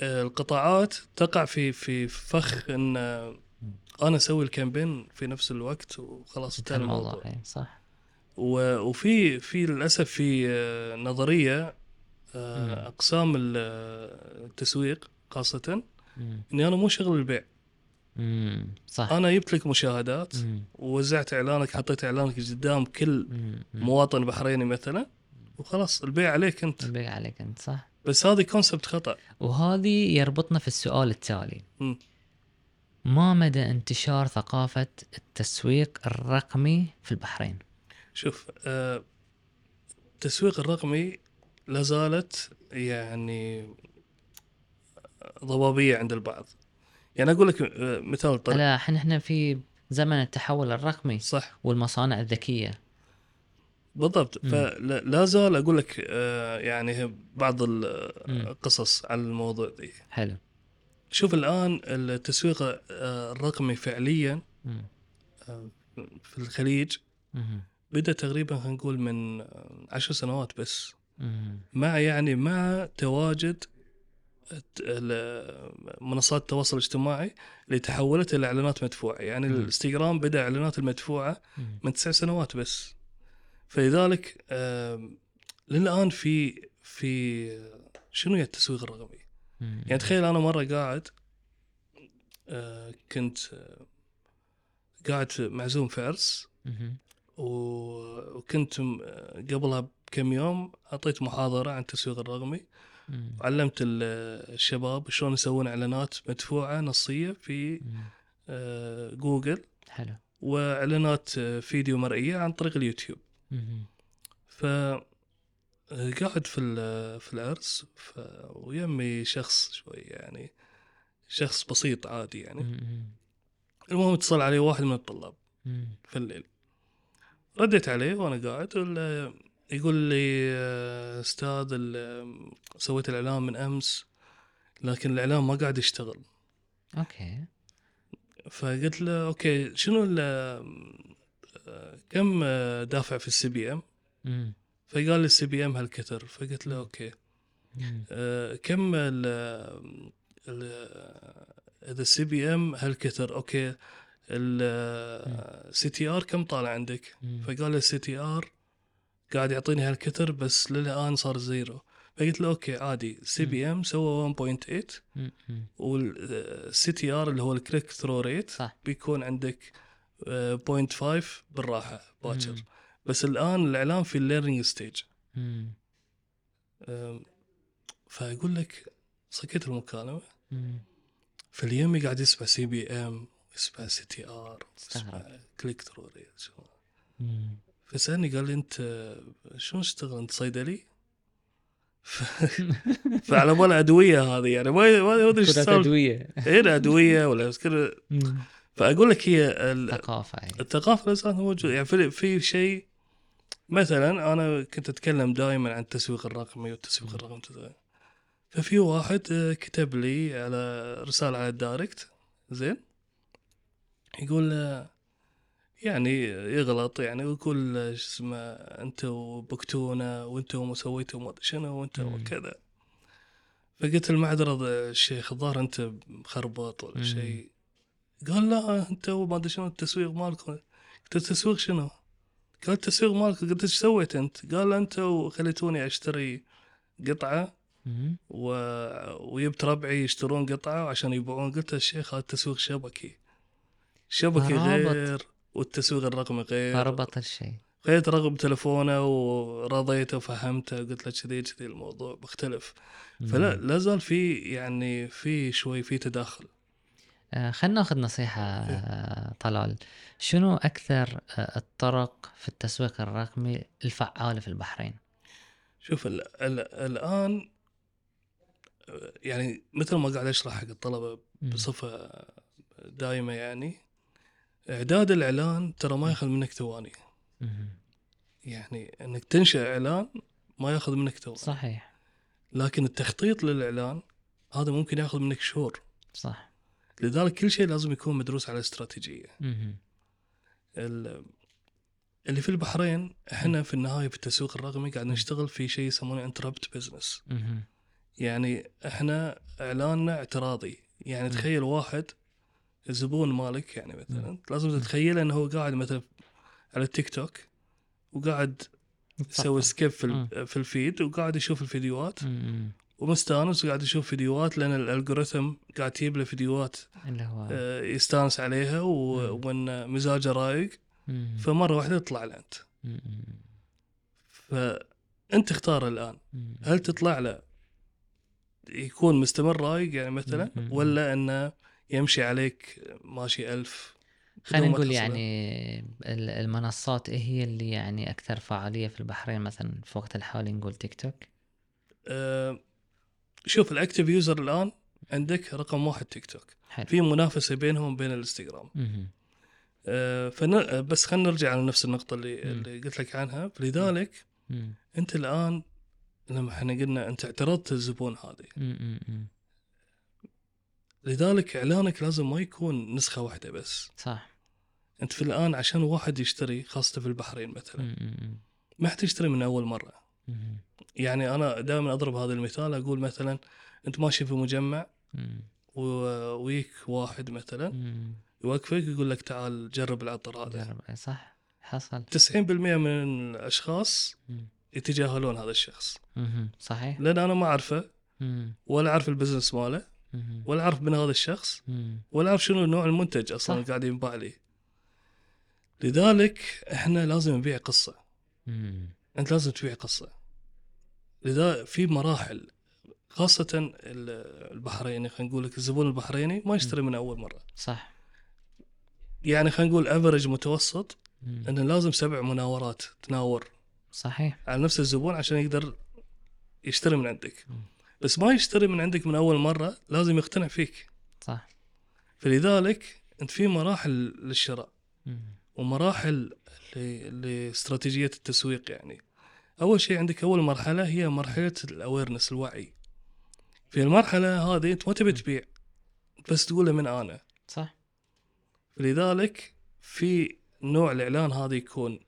B: آه، القطاعات تقع في في فخ ان آه، انا اسوي الكامبين في نفس الوقت وخلاص انتهى الموضوع
A: إيه، صح
B: و- وفي في للاسف في آه، نظريه آه،
A: مم.
B: اقسام ال- آه، التسويق خاصه
A: مم.
B: اني انا مو شغل البيع
A: مم. صح
B: انا جبت لك مشاهدات
A: مم.
B: ووزعت اعلانك حطيت اعلانك قدام كل
A: مم. مم.
B: مواطن بحريني مثلا وخلاص البيع عليك انت
A: بيع عليك انت صح
B: بس هذا كونسبت خطا
A: وهذه يربطنا في السؤال التالي
B: مم.
A: ما مدى انتشار ثقافة التسويق الرقمي في البحرين؟
B: شوف آه، التسويق الرقمي لا زالت يعني ضبابيه عند البعض يعني اقول لك آه، مثال طيب
A: هلا الحين احنا في زمن التحول الرقمي
B: صح
A: والمصانع الذكيه
B: أه. بالضبط
A: مم.
B: فلا لا زال اقول لك آه، يعني بعض ال-
A: مم.
B: القصص عن الموضوع دي
A: حلو
B: شوف الان التسويق آه، الرقمي فعليا
A: مم.
B: آه، في الخليج
A: مم.
B: بدا تقريبا خلينا نقول من آه، عشر سنوات بس
A: مم.
B: مع يعني مع تواجد الت- ال- منصات التواصل الاجتماعي اللي تحولت الى اعلانات مدفوعه، يعني
A: مم.
B: الانستغرام بدا اعلانات المدفوعه
A: مم.
B: من تسع سنوات بس. فلذلك آم، للان في في شنو هي التسويق الرقمي؟
A: مم.
B: يعني تخيل انا مره قاعد آه، كنت آه، قاعد معزوم في عرس
A: مم.
B: و- وكنت م- قبلها بكم يوم اعطيت محاضره عن التسويق الرقمي
A: مم.
B: علمت ال- الشباب شلون يسوون اعلانات مدفوعه نصيه في
A: مم.
B: آه، جوجل
A: حلو
B: واعلانات آه، فيديو مرئيه عن طريق اليوتيوب
A: مم.
B: ف آه، قاعد في ال- في العرس ف... ويمي شخص شوي يعني شخص بسيط عادي يعني
A: مم.
B: المهم اتصل علي واحد من الطلاب
A: مم.
B: في الليل رديت عليه وانا قاعد ولا يقول لي آه، استاذ ال- آه، سويت الاعلان من امس لكن الاعلان ما قاعد يشتغل
A: اوكي
B: فقلت له اوكي شنو ال آه، كم آه، دافع في السي بي ام؟
A: مم.
B: فقال لي السي بي ام هالكتر فقلت له اوكي
A: مم.
B: آه، كم ال ال- اذا السي بي ام هالكتر اوكي السي تي ار كم طالع عندك؟
A: مم.
B: فقال لي السي تي ار قاعد يعطيني هالكتر بس للان صار زيرو فقلت له اوكي عادي سي بي ام سوى 1.8
A: مم. مم.
B: والسي آه، تي ار اللي هو الكليك ثرو ريت
A: صح
B: بيكون عندك آه، 0.5 بالراحه باكر
A: مم.
B: بس الان الاعلان في الليرنينج ستيج
A: مم.
B: أم، فاقول لك سكت المكالمه
A: مم.
B: فاليمي قاعد يسمع سي بي ام يسمع سي تي ار يسمع
A: استغرب.
B: كليك ثرو ريت شو-
A: مم.
B: فسالني قال لي انت آه، شلون تشتغل انت صيدلي؟ ف- فعلى بال ادويه هذه يعني ما ما ادري ايش
A: كرة
B: صار
A: أدوية
B: غير ادويه إيه، ولا كذا.
A: مم.
B: فاقول لك هي ال-
A: ثقافة يعني.
B: الثقافه الانسان موجود يعني في, في شيء مثلا انا كنت اتكلم دائما عن التسويق الرقمي والتسويق
A: مم.
B: الرقمي ففي واحد آه، كتب لي على رساله على الدايركت زين يقول آه، يعني يغلط يعني ويقول آه، شو اسمه انتوا بكتونا وانتوا سويتوا ما أدري شنو وانتوا
A: مم.
B: كذا فقلت المعذره آه، الشيخ الظاهر انت مخربط ولا
A: مم.
B: شيء قال لا انت ما ادري شنو التسويق مالكم قلت التسويق شنو؟ قال التسويق مالك قلت ايش سويت انت؟ قال انتوا خليتوني اشتري قطعه
A: مم.
B: و... وجبت ربعي يشترون قطعه عشان يبيعون قلت الشيخ هذا التسويق شبكي شبكي
A: فرابط.
B: غير والتسويق الرقمي غير
A: فربط الشيء
B: خذيت رقم تلفونه ورضيته وفهمته قلت له كذي كذي الموضوع مختلف
A: مم.
B: فلا لا زال في يعني في شوي في تداخل
A: آه، خلنا ناخذ نصيحة
B: إيه.
A: آه، طلال شنو أكثر آه، الطرق في التسويق الرقمي الفعالة في البحرين؟
B: شوف ال ال الان يعني مثل ما قاعد اشرح حق الطلبه
A: مم.
B: بصفه دائمه يعني اعداد الاعلان ترى ما ياخذ منك ثواني
A: مم.
B: يعني انك تنشا اعلان ما ياخذ منك ثواني
A: صحيح
B: لكن التخطيط للاعلان هذا ممكن ياخذ منك شهور
A: صح
B: لذلك كل شيء لازم يكون مدروس على استراتيجيه
A: مم.
B: ال- اللي في البحرين احنا في النهايه في التسويق الرقمي قاعد نشتغل في شيء يسمونه انتربت بزنس
A: مم.
B: يعني احنا اعلاننا اعتراضي يعني
A: مم.
B: تخيل واحد زبون مالك يعني مثلا
A: مم.
B: لازم تتخيله انه هو قاعد مثلا على التيك توك وقاعد يسوي
A: صح.
B: سكيب في
A: مم.
B: ال- في الفيد وقاعد يشوف الفيديوهات
A: مم.
B: ومستانس وقاعد يشوف فيديوهات لان الالجوريثم قاعد تجيب له فيديوهات
A: اللي هو
B: آه، يستانس عليها و-
A: مم.
B: وان مزاجه رايق
A: مم.
B: فمره واحده تطلع له انت
A: مم.
B: فانت اختار الان
A: مم.
B: هل تطلع له يكون مستمر رايق يعني مثلا
A: م- م- م.
B: ولا انه يمشي عليك ماشي ألف
A: خلينا
B: بدون ما
A: نقول
B: تحصله؟
A: يعني ال- المنصات إيه هي اللي يعني أكثر فعالية في البحرين مثلا في وقت الحالي نقول تيك توك
B: آه شوف الاكتف يوزر الان عندك رقم واحد تيك توك
A: حلو
B: في منافسه بينهم وبين الانستغرام
A: مهم.
B: آه، فن... بس خلينا نرجع على نفس النقطه اللي,
A: مم.
B: اللي قلت لك عنها فلذلك انت الان لما احنا قلنا انت اعترضت الزبون هذه
A: امم
B: لذلك اعلانك لازم ما يكون نسخه واحده بس
A: صح
B: انت في الان عشان واحد يشتري خاصه في البحرين مثلا
A: مم.
B: ما حتشتري من اول مره
A: مم.
B: يعني انا دائما اضرب هذا المثال اقول مثلا انت ماشي في مجمع
A: مم.
B: و- ويك واحد مثلا
A: مم.
B: يوقفك يقول لك تعال جرب العطر هذا
A: جرب إيه، صح حصل
B: 90% من الاشخاص
A: مم.
B: يتجاهلون هذا الشخص
A: مم. صحيح
B: لان انا ما اعرفه
A: مم.
B: ولا اعرف البزنس ماله
A: مم.
B: ولا اعرف من هذا الشخص
A: مم.
B: ولا اعرف شنو نوع المنتج اصلا
A: صح.
B: قاعد ينباع لي لذلك احنا لازم نبيع قصه
A: مم.
B: انت لازم تبيع قصه لذا في مراحل خاصة ال- البحريني خلينا نقول لك الزبون البحريني ما يشتري من اول مرة،
A: صح
B: يعني خلينا نقول افرج متوسط
A: مم.
B: انه لازم سبع مناورات تناور
A: صحيح
B: على نفس الزبون عشان يقدر يشتري من عندك.
A: مم.
B: بس ما يشتري من عندك من اول مرة لازم يقتنع فيك،
A: صح
B: فلذلك انت في مراحل للشراء
A: مم.
B: ومراحل ل- لاستراتيجية التسويق يعني. أول شيء عندك أول مرحلة هي مرحلة الأويرنس الوعي. في المرحلة هذه أنت ما تبي تبيع بس تقول له من أنا.
A: صح
B: فلذلك في نوع الإعلان هذا يكون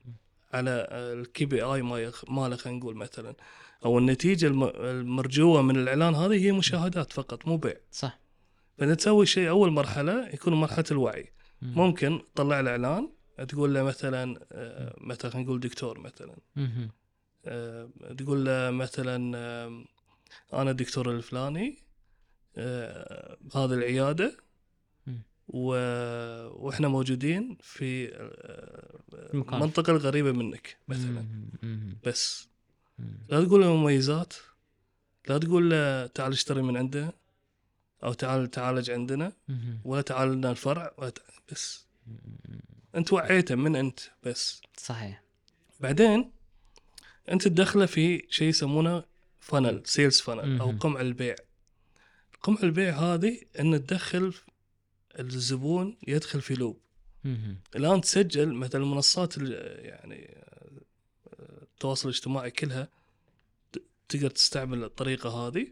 B: على الكي بي آي ماله خلينا نقول مثلا أو النتيجة الم- المرجوة من الإعلان هذه هي مشاهدات فقط مو بيع.
A: صح
B: فأنت تسوي شيء أول مرحلة يكون مرحلة الوعي.
A: مم.
B: ممكن تطلع له اعلان تقول له مثلا آه، مثلا خلينا نقول دكتور مثلا
A: مم.
B: آه، تقول له مثلا آه، انا الدكتور الفلاني آه، هذه العياده
A: مم.
B: و... واحنا موجودين في آه،
A: مكان.
B: المنطقه الغريبه منك مثلا
A: مم. مم.
B: بس
A: مم.
B: لا تقول له مميزات لا تقول له تعال اشتري من عنده او تعال تعالج عندنا
A: مم.
B: ولا تعال لنا الفرع ولا تع- بس
A: مم.
B: انت وعيته من انت بس
A: صحيح
B: بعدين انت تدخله في شيء يسمونه فنل سيلز فنل او
A: مهم.
B: قمع البيع قمع البيع هذه ان تدخل الزبون يدخل في لوب
A: مم.
B: الان تسجل مثل المنصات ال- يعني آه، التواصل الاجتماعي كلها ت- تقدر تستعمل الطريقه هذه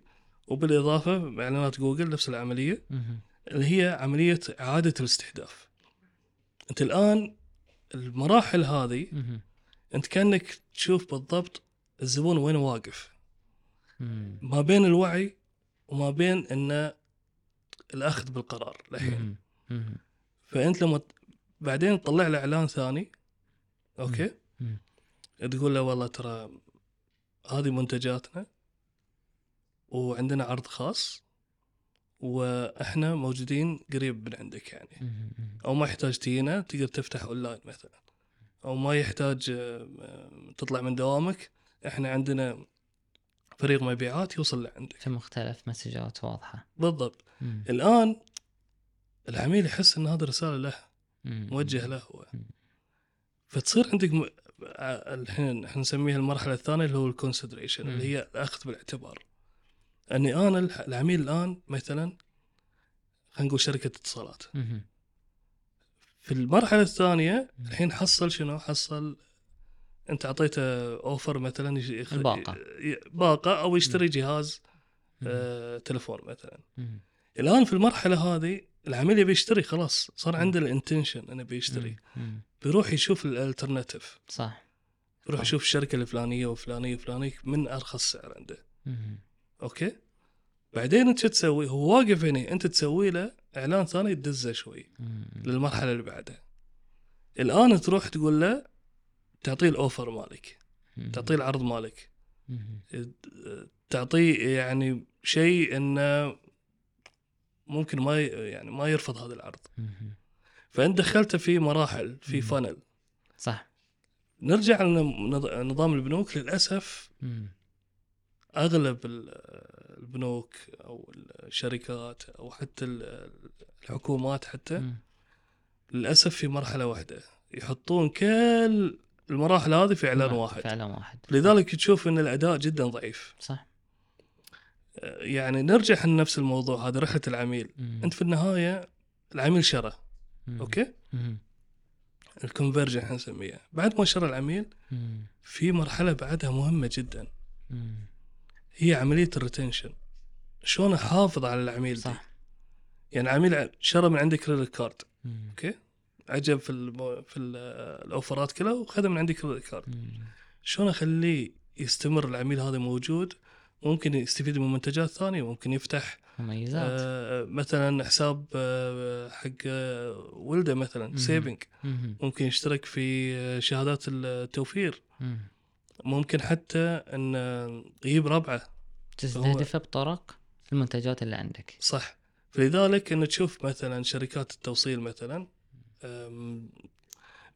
B: وبالاضافه اعلانات جوجل نفس العمليه
A: مم.
B: اللي هي عملية إعادة الاستهداف أنت الآن المراحل هذه
A: مم.
B: أنت كأنك تشوف بالضبط الزبون وين واقف
A: مم.
B: ما بين الوعي وما بين أنه الأخذ بالقرار الحين
A: مم. مم.
B: فأنت لما ت- بعدين تطلع له إعلان ثاني أوكي
A: مم.
B: تقول له والله ترى هذه منتجاتنا وعندنا عرض خاص وإحنا موجودين قريب من عندك يعني
A: مم.
B: او ما يحتاج تينا تقدر تفتح اونلاين مثلا او ما يحتاج آه، آه، تطلع من دوامك احنا عندنا فريق مبيعات يوصل لعندك
A: في مختلف مسجات واضحه
B: بالضبط
A: مم.
B: الان العميل يحس ان هذا رساله له
A: مم.
B: موجه له هو
A: مم.
B: فتصير عندك م... آه، الحين احنا نسميها المرحله الثانيه اللي هو الكونسيدريشن
A: مم.
B: اللي هي الاخذ بالاعتبار اني انا الح- العميل الان مثلا خلينا نقول شركه اتصالات
A: مم.
B: في المرحله الثانيه
A: مم.
B: الحين حصل شنو حصل انت اعطيته اوفر مثلا يش- يخ...
A: الباقة.
B: ي- باقه او يشتري جهاز
A: مم.
B: آه تلفون مثلا
A: مم.
B: الان في المرحله هذه العميل يبي يشتري خلاص صار
A: مم.
B: عنده الانتنشن انه بيشتري
A: مم.
B: بيروح يشوف الالترناتيف
A: صح
B: بيروح
A: صح.
B: يشوف الشركه الفلانيه وفلانيه وفلانيه من ارخص سعر عنده
A: مم.
B: اوكي بعدين انت شو تسوي هو واقف هنا انت تسوي له اعلان ثاني تدزه شوي
A: مم.
B: للمرحله اللي بعدها الان تروح تقول له تعطيه الاوفر مالك تعطيه العرض مالك
A: مم.
B: تعطيه يعني شيء انه ممكن ما ي- يعني ما يرفض هذا العرض
A: مم.
B: فانت دخلته في مراحل في
A: مم.
B: فانل
A: صح
B: نرجع لنظام البنوك للاسف
A: مم.
B: اغلب ال- البنوك او الشركات او حتى ال- الحكومات حتى
A: مم.
B: للاسف في مرحله واحده يحطون كل المراحل هذه في اعلان واحد
A: فعلا واحد
B: لذلك تشوف ان الاداء جدا ضعيف
A: صح
B: أه، يعني نرجع عن نفس الموضوع هذا رحله العميل
A: مم.
B: انت في النهايه العميل شرى
A: مم.
B: اوكي
A: مم.
B: الكونفرجن احنا نسميها بعد ما شرى العميل
A: مم.
B: في مرحله بعدها مهمه جدا
A: مم.
B: هي عمليه الريتنشن شلون احافظ على العميل دي؟
A: صح
B: يعني عميل ع- شرى من عندي كريدت كارد
A: مم.
B: اوكي عجب في المو... في ال- الاوفرات كلها وخذ من عندي كريدت كارد
A: مم.
B: شلون اخليه يستمر العميل هذا موجود ممكن يستفيد من منتجات ثانيه ممكن يفتح
A: مميزات
B: آه مثلا حساب آه حق آه، ولده مثلا
A: مم.
B: سيفنج
A: مم.
B: ممكن يشترك في آه، شهادات التوفير
A: مم.
B: ممكن حتى ان آه، يجيب ربعه
A: تستهدفه بطرق المنتجات اللي عندك
B: صح فلذلك انه تشوف مثلا شركات التوصيل مثلا أم،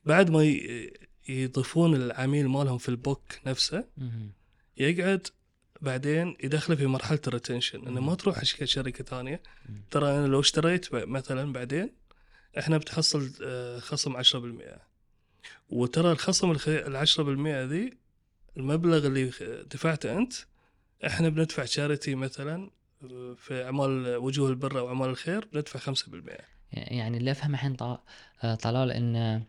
B: بعد ما ي- يضيفون العميل مالهم في البوك نفسه
A: مم.
B: يقعد بعدين يدخله في مرحله الريتنشن انه ما تروح حق شركه ثانيه ترى انا لو اشتريت ب- مثلا بعدين احنا بتحصل آه، خصم 10% وترى الخصم الخ- ال 10% ذي المبلغ اللي خ- دفعته انت احنا بندفع شاريتي مثلا آه، في اعمال وجوه البر او اعمال الخير بندفع 5%
A: يعني اللي افهمه الحين طا- آه، طلال ان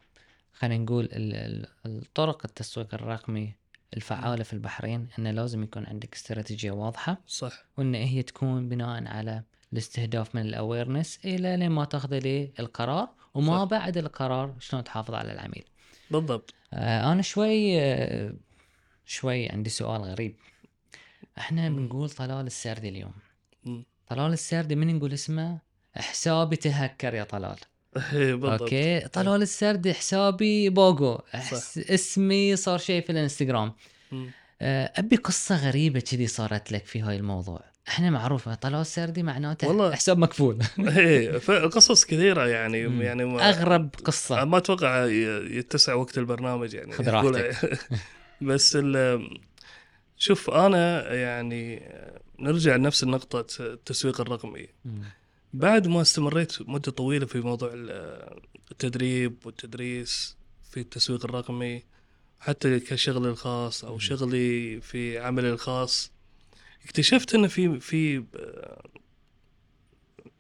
A: خلينا نقول ال- ال- الطرق التسويق الرقمي الفعالة في البحرين انه لازم يكون عندك استراتيجية واضحة
B: صح
A: وان هي تكون بناء على الاستهداف من الاويرنس الى لين ما تاخذ لي القرار وما
B: صح.
A: بعد القرار شلون تحافظ على العميل.
B: بالضبط
A: آه، انا شوي آه، شوي عندي سؤال غريب احنا
B: مم.
A: بنقول طلال السردي اليوم
B: مم.
A: طلال السردي من نقول اسمه حسابي تهكر يا طلال
B: إيه، بالضبط
A: اوكي طلال السردي حسابي بوغو أحس اسمي صار شيء في الانستغرام
B: مم.
A: آه، ابي قصه غريبه كذي صارت لك في هاي الموضوع احنا معروفه طلال السردي معناته
B: والله.
A: حساب مكفول
B: ايه فقصص كثيره يعني
A: مم.
B: يعني ما-
A: اغرب قصه
B: ما اتوقع ي- يتسع وقت البرنامج يعني
A: طيب. خذ
B: أقولها. بس ال- شوف انا يعني نرجع لنفس النقطة التسويق الرقمي
A: مم.
B: بعد ما استمريت مدة طويلة في موضوع ال- التدريب والتدريس في التسويق الرقمي حتى كشغلي الخاص او
A: مم.
B: شغلي في عملي الخاص اكتشفت ان في في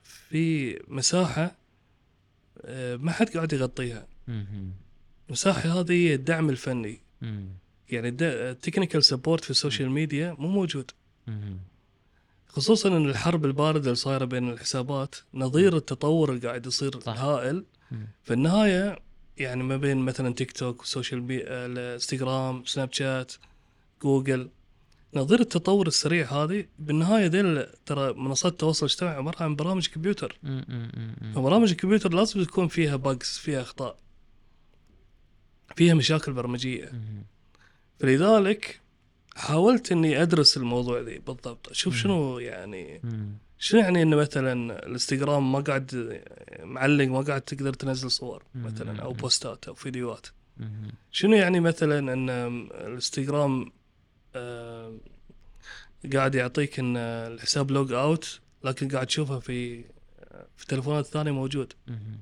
B: في مساحة آه، ما حد قاعد يغطيها
A: مم.
B: المساحة هذه هي الدعم الفني
A: مم.
B: يعني التكنيكال سبورت في السوشيال ميديا مو موجود
A: مم.
B: خصوصا ان الحرب البارده اللي صايره بين الحسابات نظير التطور اللي قاعد يصير
A: صح.
B: هائل
A: مم.
B: في النهايه يعني ما بين مثلا تيك توك وسوشيال ميديا الانستغرام سناب شات جوجل نظير التطور السريع هذه بالنهايه ديل ترى منصات التواصل الاجتماعي عباره عن برامج كمبيوتر
A: مم. مم. مم.
B: فبرامج الكمبيوتر لازم تكون فيها باجز فيها اخطاء فيها مشاكل برمجيه
A: مم.
B: فلذلك حاولت اني ادرس الموضوع ذي بالضبط اشوف
A: مم.
B: شنو يعني
A: مم.
B: شنو يعني انه مثلا الانستغرام ما قاعد معلق ما قاعد تقدر تنزل صور
A: مم.
B: مثلا او بوستات او فيديوهات
A: مم.
B: شنو يعني مثلا ان الانستغرام آه، قاعد يعطيك ان الحساب لوج اوت لكن قاعد تشوفها في آه، في تلفونات ثانيه موجود
A: مم.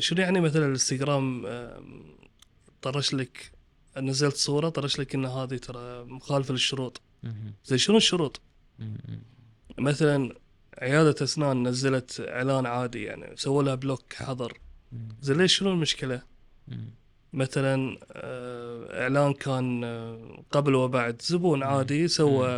B: شنو يعني مثلا الانستغرام آم، طرش لك نزلت صوره طرش لك ان هذه ترى مخالفه للشروط
A: مم.
B: زي شنو الشروط
A: مم.
B: مثلا عياده اسنان نزلت اعلان عادي يعني سووا لها بلوك حظر
A: مم.
B: زي ليش شنو المشكله
A: مم.
B: مثلا آه، اعلان كان آه، قبل وبعد زبون عادي سوى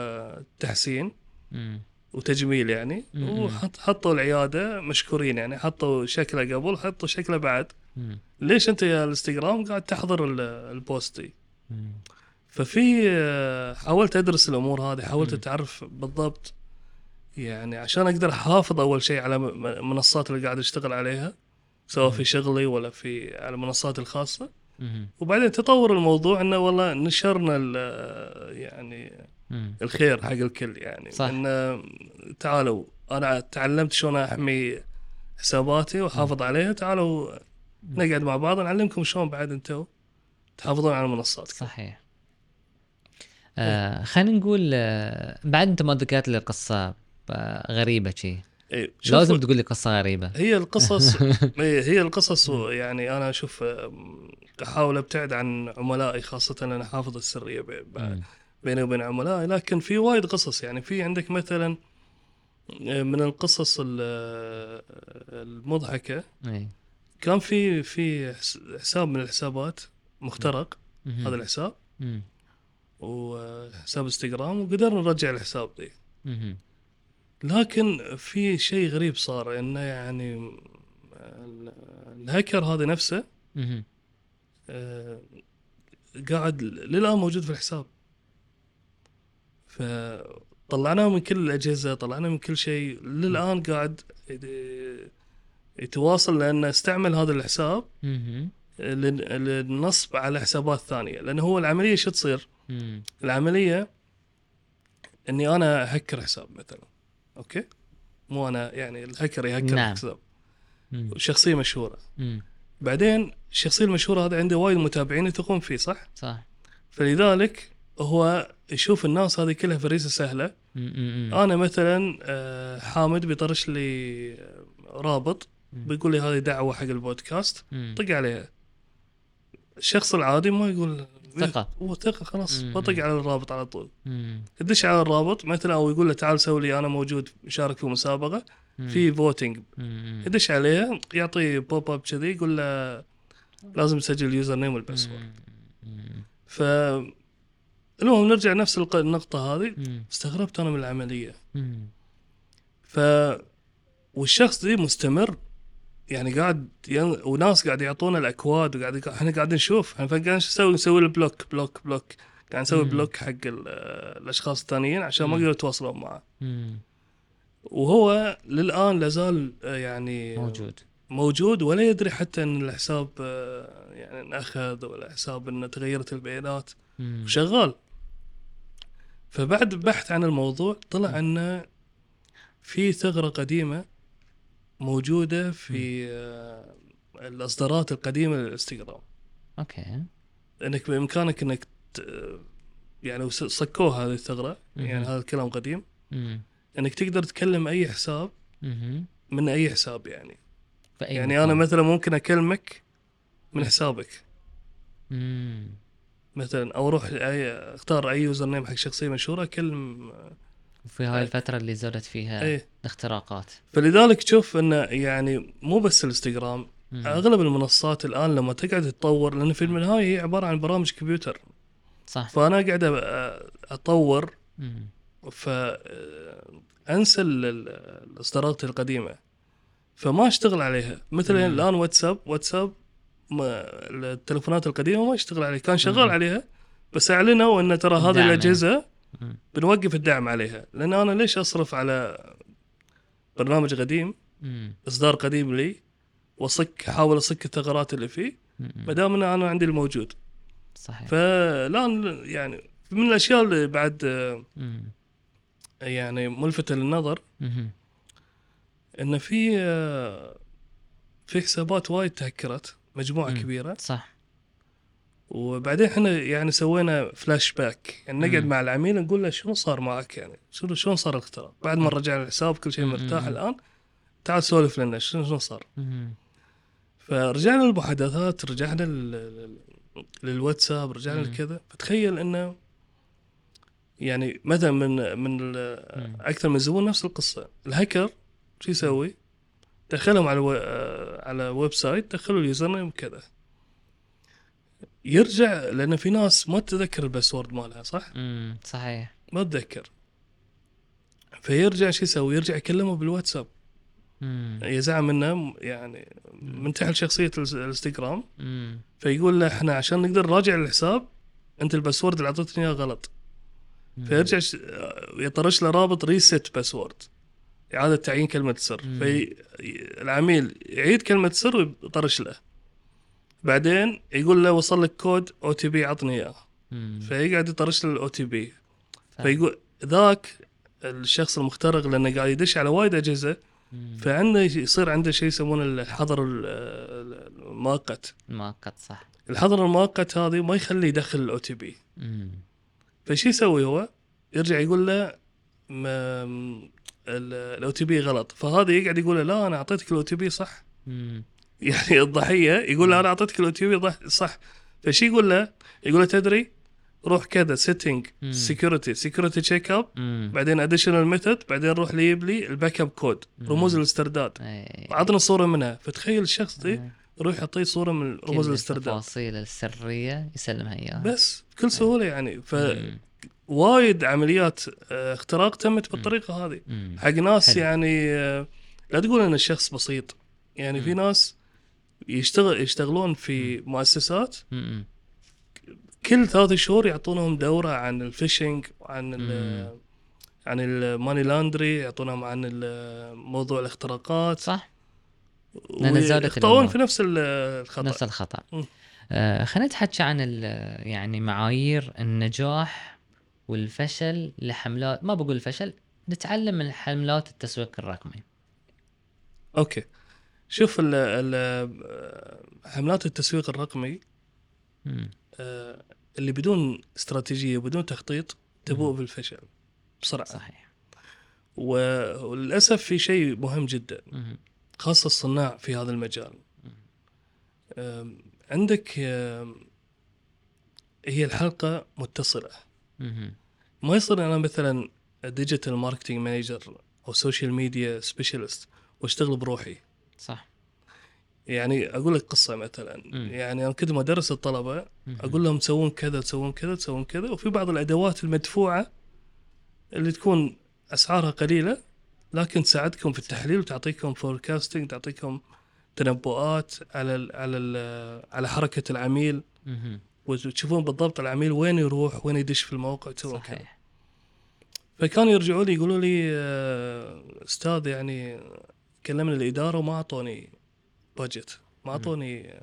B: تحسين
A: مم.
B: وتجميل يعني
A: مم.
B: وحط حطوا العياده مشكورين يعني حطوا شكله قبل حطوا شكله بعد
A: مم.
B: ليش انت يا الانستغرام قاعد تحضر ال- البوست دي
A: مم.
B: ففي آه، حاولت ادرس الامور هذه حاولت
A: مم.
B: اتعرف بالضبط يعني عشان اقدر احافظ اول شيء على م- المنصات اللي قاعد اشتغل عليها سواء في شغلي ولا في على المنصات الخاصه
A: مم.
B: وبعدين تطور الموضوع انه والله نشرنا ال- يعني
A: مم.
B: الخير حق الكل يعني
A: صح.
B: انه تعالوا انا تعلمت شلون احمي حساباتي واحافظ عليها تعالوا نقعد مع بعض نعلمكم شلون بعد انتم تحافظون على منصاتكم
A: صحيح آه خلينا نقول آه بعد انت ما ذكرت لي قصه آه غريبه شي
B: إيه، شوف،
A: لازم تقول لي قصه غريبه
B: هي القصص إيه، هي القصص و- يعني انا اشوف أم، احاول ابتعد عن عملائي خاصه انا حافظ السريه بي- ب-
A: مم.
B: بيني وبين عملائي لكن في وايد قصص يعني في عندك مثلا أه، من القصص ال- المضحكه
A: إيه.
B: كان في في حس- حساب من الحسابات مخترق
A: مهم.
B: هذا الحساب
A: مم.
B: وحساب انستغرام وقدرنا نرجع الحساب ذي
A: مهم.
B: لكن في شيء غريب صار انه يعني ال- الهاكر هذا نفسه
A: مهم.
B: آه، قاعد للان موجود في الحساب فطلعناه من كل الاجهزه طلعناه من كل شيء للان قاعد يد- يتواصل لانه استعمل هذا الحساب
A: مهم.
B: لل- للنصب على حسابات ثانيه لان هو العمليه شو تصير؟
A: مم.
B: العمليه اني انا اهكر حساب مثلا اوكي؟ مو انا يعني الهكر يهكر
A: نعم.
B: نعم. حساب
A: مم.
B: شخصيه مشهوره
A: مم.
B: بعدين الشخصيه المشهوره هذا عنده وايد متابعين يثقون فيه صح؟
A: صح
B: فلذلك هو يشوف الناس هذه كلها فريسه سهله
A: مم. مم. مم.
B: انا مثلا آه، حامد بيطرش لي آه، رابط
A: مم.
B: بيقول لي هذه دعوه حق البودكاست
A: مم.
B: طق عليها الشخص العادي ما يقول
A: ثقة.
B: هو ثقه خلاص
A: مم.
B: بطق على الرابط على طول
A: مم.
B: يدش على الرابط مثلا او يقول له تعال سوي لي انا موجود شارك في مسابقه
A: مم.
B: في فوتنج
A: مم.
B: يدش عليها يعطي بوب اب كذي يقول له لازم تسجل اليوزر نيم والباسورد
A: مم.
B: ف المهم نرجع نفس الق- النقطة هذه
A: مم.
B: استغربت أنا من العملية
A: مم.
B: ف والشخص ذي مستمر يعني قاعد ين... وناس قاعد يعطونا الأكواد وقاعد احنا قاعد نشوف احنا قاعد ايش نسوي نسوي له بلوك بلوك بلوك قاعد نسوي
A: مم.
B: بلوك حق ال... آه، الأشخاص الثانيين عشان ما
A: مم.
B: يقدروا يتواصلون معه
A: مم.
B: وهو للآن لازال آه، يعني
A: موجود
B: موجود ولا يدري حتى أن الحساب آه، يعني انأخذ ولا حساب أنه تغيرت البيانات
A: مم.
B: شغال فبعد بحث عن الموضوع طلع انه في ثغره قديمه موجوده في آه، الاصدارات القديمه للانستغرام
A: اوكي
B: انك بامكانك انك ت- يعني وس- صكوها هذه الثغره يعني
A: مهم.
B: هذا الكلام قديم
A: مم.
B: انك تقدر تكلم اي حساب
A: مهم.
B: من اي حساب يعني
A: فأي
B: يعني انا
A: مكان.
B: مثلا ممكن اكلمك من حسابك
A: مم.
B: مثلا او اروح أي اختار اي يوزر نيم حق شخصيه مشهوره اكلم
A: في هاي الفترة اللي زادت فيها
B: اي
A: الاختراقات
B: فلذلك تشوف انه يعني مو بس الانستغرام
A: مم.
B: اغلب المنصات الان لما تقعد تطور لان في النهايه هي عباره عن برامج كمبيوتر
A: صح
B: فانا قاعد أ- اطور
A: مم.
B: فانسى الاصدارات القديمه فما اشتغل عليها مثلا
A: مم.
B: الان واتساب واتساب ما التلفونات القديمه ما اشتغل عليها كان شغال
A: مم.
B: عليها بس اعلنوا ان ترى هذه
A: دعم.
B: الاجهزه
A: مم.
B: بنوقف الدعم عليها لان انا ليش اصرف على برنامج قديم
A: مم.
B: اصدار قديم لي واصك احاول اصك الثغرات اللي فيه
A: مم.
B: ما دام إن انا عندي الموجود
A: صحيح
B: فالان يعني من الاشياء اللي بعد آه،
A: مم.
B: يعني ملفته للنظر
A: مهم.
B: ان في آه، في حسابات وايد تهكرت مجموعه
A: مم.
B: كبيره
A: صح
B: وبعدين احنا يعني سوينا فلاش باك يعني نقعد
A: مم.
B: مع العميل نقول له شنو صار معك يعني شنو شلون صار الاختراق بعد ما رجعنا الحساب كل شيء
A: مم.
B: مرتاح
A: مم.
B: الان تعال سولف لنا شنو شنو صار
A: مهم.
B: فرجعنا للمحادثات رجعنا لل- لل- للواتساب رجعنا
A: مم.
B: لكذا فتخيل انه يعني مثلا من من ال-
A: مم.
B: اكثر من زبون نفس القصه الهكر شو يسوي؟ دخلهم على و... آه، على ويب سايت دخلوا اليوزر نيم كذا يرجع لان في ناس ما تتذكر الباسورد مالها صح؟
A: مم. صحيح
B: ما تتذكر فيرجع شو يسوي؟ يرجع يكلمه بالواتساب
A: مم.
B: يزعم انه يعني منتحل شخصيه الس- الانستغرام
A: مم.
B: فيقول له احنا عشان نقدر نراجع الحساب انت الباسورد اللي اعطيتني اياه غلط
A: مم.
B: فيرجع ش- يطرش له رابط ريست باسورد اعاده تعيين كلمه سر
A: مم.
B: في العميل يعيد كلمه سر ويطرش له بعدين يقول له وصل لك كود او تي بي عطني اياه
A: مم.
B: فيقعد يطرش له الاو تي بي
A: فاهم.
B: فيقول ذاك الشخص المخترق لانه قاعد يدش على وايد اجهزه
A: مم.
B: فعنده يصير عنده شيء يسمونه الحظر ال- ال- المؤقت
A: مؤقت صح
B: الحظر المؤقت هذه ما يخليه يدخل الاو تي بي
A: مم.
B: فشي يسوي هو يرجع يقول له الاو تي بي غلط فهذا يقعد يقول له لا انا اعطيتك الاو تي بي صح
A: مم.
B: يعني الضحيه يقول له انا اعطيتك الاو تي بي صح فشي يقول له يقول له تدري روح كذا سيتنج
A: مم.
B: سكيورتي سكيورتي تشيك اب
A: مم.
B: بعدين اديشنال ميثود بعدين روح لي يجيب لي الباك اب كود رموز الاسترداد
A: إيه.
B: عطنا صوره منها فتخيل الشخص ذي يروح يعطيه صوره من
A: كل
B: رموز الاسترداد
A: التفاصيل السريه يسلمها اياها
B: بس بكل سهوله يعني
A: مم.
B: فوايد عمليات آه، اختراق تمت بالطريقه هذه
A: مم.
B: حق ناس
A: حلو.
B: يعني آه، لا تقول ان الشخص بسيط يعني في
A: مم.
B: ناس يشتغل يشتغلون في مؤسسات
A: مم.
B: كل ثلاث شهور يعطونهم دوره عن الفيشنج وعن ال
A: مم.
B: عن الماني لاندري يعطونهم عن ال- موضوع الاختراقات
A: صح لأن زادت
B: ويخطئون
A: الأمور.
B: في نفس ال- الخطا
A: نفس الخطا
B: مم.
A: آه خلينا نتحكي عن ال- يعني معايير النجاح والفشل لحملات ما بقول فشل نتعلم من حملات التسويق الرقمي
B: اوكي شوف ال ال حملات التسويق الرقمي
A: مم.
B: آه، اللي بدون استراتيجيه وبدون تخطيط تبوء بالفشل بسرعه
A: صحيح
B: و- وللاسف في شيء مهم جدا
A: مم.
B: خاصه الصناع في هذا المجال
A: مم.
B: آم، عندك آم، هي الحلقه متصله
A: مم.
B: ما يصير انا مثلا ديجيتال ماركتنج مانجر او سوشيال ميديا سبيشالست واشتغل بروحي
A: صح
B: يعني اقول لك قصه مثلا
A: مم.
B: يعني انا كنت مدرس الطلبه
A: مم.
B: اقول لهم تسوون كذا تسوون كذا تسوون كذا وفي بعض الادوات المدفوعه اللي تكون اسعارها قليله لكن تساعدكم في التحليل وتعطيكم فوركاستنج تعطيكم تنبؤات على ال على ال على حركه العميل
A: مم.
B: وتشوفون بالضبط العميل وين يروح وين يدش في الموقع تسوون كذا
A: صحيح
B: فكانوا يرجعوا لي يقولوا لي آه، استاذ يعني كلمنا الاداره وما اعطوني بادجت ما اعطوني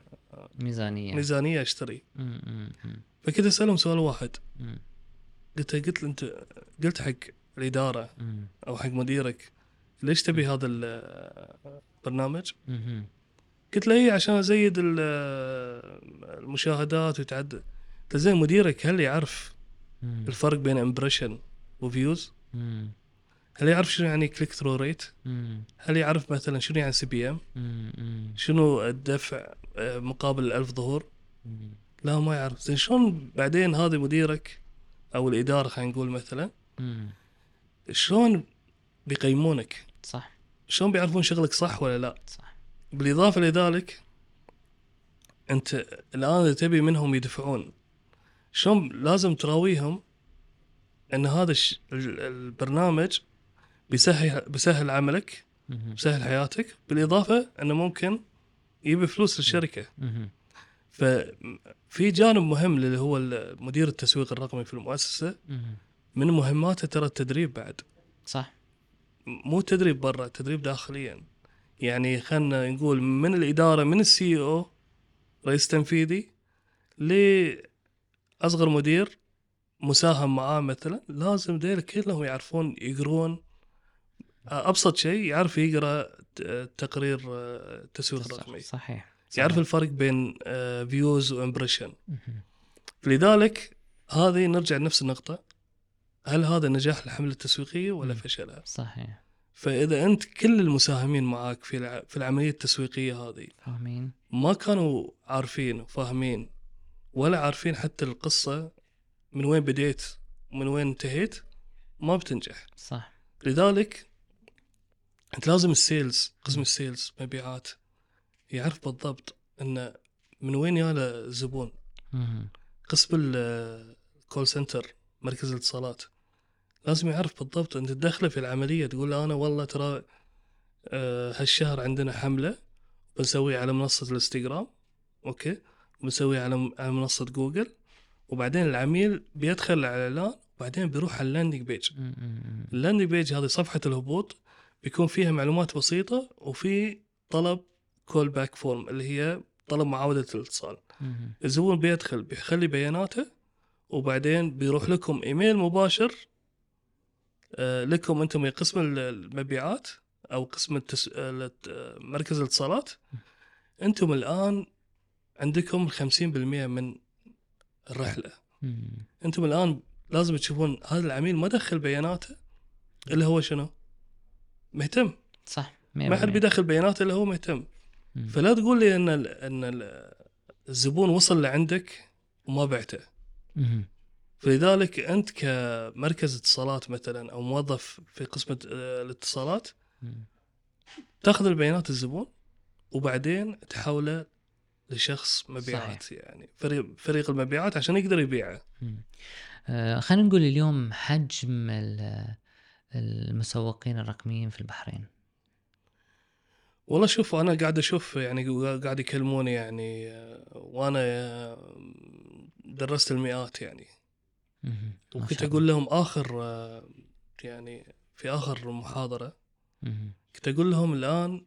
A: ميزانيه
B: ميزانيه اشتري
A: مم. مم. مم.
B: فكنت اسالهم سؤال واحد
A: مم.
B: قلت قلت له انت قلت حق الاداره
A: مم.
B: او حق مديرك ليش تبي هذا ال- البرنامج؟
A: مم.
B: قلت له ايه عشان ازيد ال- المشاهدات وتعد قلت له زين مديرك هل يعرف
A: مم.
B: الفرق بين امبريشن وفيوز؟
A: مم.
B: هل يعرف شنو يعني كليك ثرو ريت؟
A: مم.
B: هل يعرف مثلا شنو يعني سي بي ام؟
A: مم. مم.
B: شنو الدفع آه، مقابل الألف ظهور؟
A: مم.
B: لا ما يعرف زين شلون بعدين هذا مديرك او الاداره خلينا نقول مثلا
A: مم.
B: شلون بيقيمونك؟
A: صح
B: شلون بيعرفون شغلك صح ولا لا؟
A: صح
B: بالاضافه لذلك انت الان اذا تبي منهم يدفعون شلون لازم تراويهم ان هذا الش... ال- البرنامج بيسهل بيسهل عملك
A: مم.
B: بيسهل حياتك بالاضافه انه ممكن يبي فلوس للشركه
A: مم.
B: ففي جانب مهم اللي هو ال- مدير التسويق الرقمي في المؤسسه
A: مم.
B: من مهماته ترى التدريب بعد
A: صح
B: مو تدريب برا تدريب داخليا يعني خلينا نقول من الاداره من السي او رئيس تنفيذي لاصغر مدير مساهم معاه مثلا لازم ديل كلهم يعرفون يقرون ابسط شيء يعرف يقرا ت- تقرير آه، التسويق الرقمي
A: صحيح
B: يعرف
A: صحيح.
B: الفرق بين فيوز وامبريشن
A: مم.
B: لذلك هذه نرجع لنفس النقطه هل هذا نجاح الحمله التسويقيه ولا
A: مم.
B: فشلها؟
A: صحيح
B: فاذا انت كل المساهمين معاك في الع- في العمليه التسويقيه هذه
A: فاهمين
B: ما كانوا عارفين وفاهمين ولا عارفين حتى القصه من وين بديت ومن وين انتهيت ما بتنجح
A: صح
B: لذلك انت لازم السيلز قسم
A: مم.
B: السيلز مبيعات يعرف بالضبط انه من وين ياله الزبون
A: مم.
B: قسم الكول سنتر مركز الاتصالات لازم يعرف بالضبط انت تدخله في العمليه تقول له انا والله ترى آه، هالشهر عندنا حمله بنسويها على منصه الانستغرام اوكي بنسويها على على منصه جوجل وبعدين العميل بيدخل على الاعلان وبعدين بيروح على اللاندنج بيج
A: مم. مم.
B: اللاندنج بيج هذه صفحه الهبوط بيكون فيها معلومات بسيطه وفي طلب كول باك فورم اللي هي طلب معاوده الاتصال
A: مم.
B: الزبون بيدخل بيخلي بياناته وبعدين بيروح لكم ايميل مباشر آه، لكم انتم يا قسم ال- المبيعات او قسم التس... ال- آه، مركز الاتصالات انتم الان عندكم 50% من الرحله
A: مم.
B: انتم الان لازم تشوفون هذا العميل ما دخل بياناته اللي هو شنو؟ مهتم
A: صح
B: ما حد بيدخل بياناته اللي هو مهتم فلا تقول لي ان ال ان ال الزبون وصل لعندك وما بعته فلذلك انت كمركز اتصالات مثلا او موظف في قسم آه، الاتصالات تاخذ البيانات الزبون وبعدين تحوله لشخص مبيعات صحيح. يعني فريق فريق المبيعات عشان يقدر يبيعه
A: آه، خلينا نقول اليوم حجم ال- المسوقين الرقميين في البحرين
B: والله شوف انا قاعد اشوف يعني قاعد يكلموني يعني آه، وانا آه، درست المئات يعني
A: مهم. ما
B: وكنت
A: شاء
B: اقول لهم اخر آه، يعني في اخر محاضره
A: الله. مهم.
B: كنت اقول لهم الان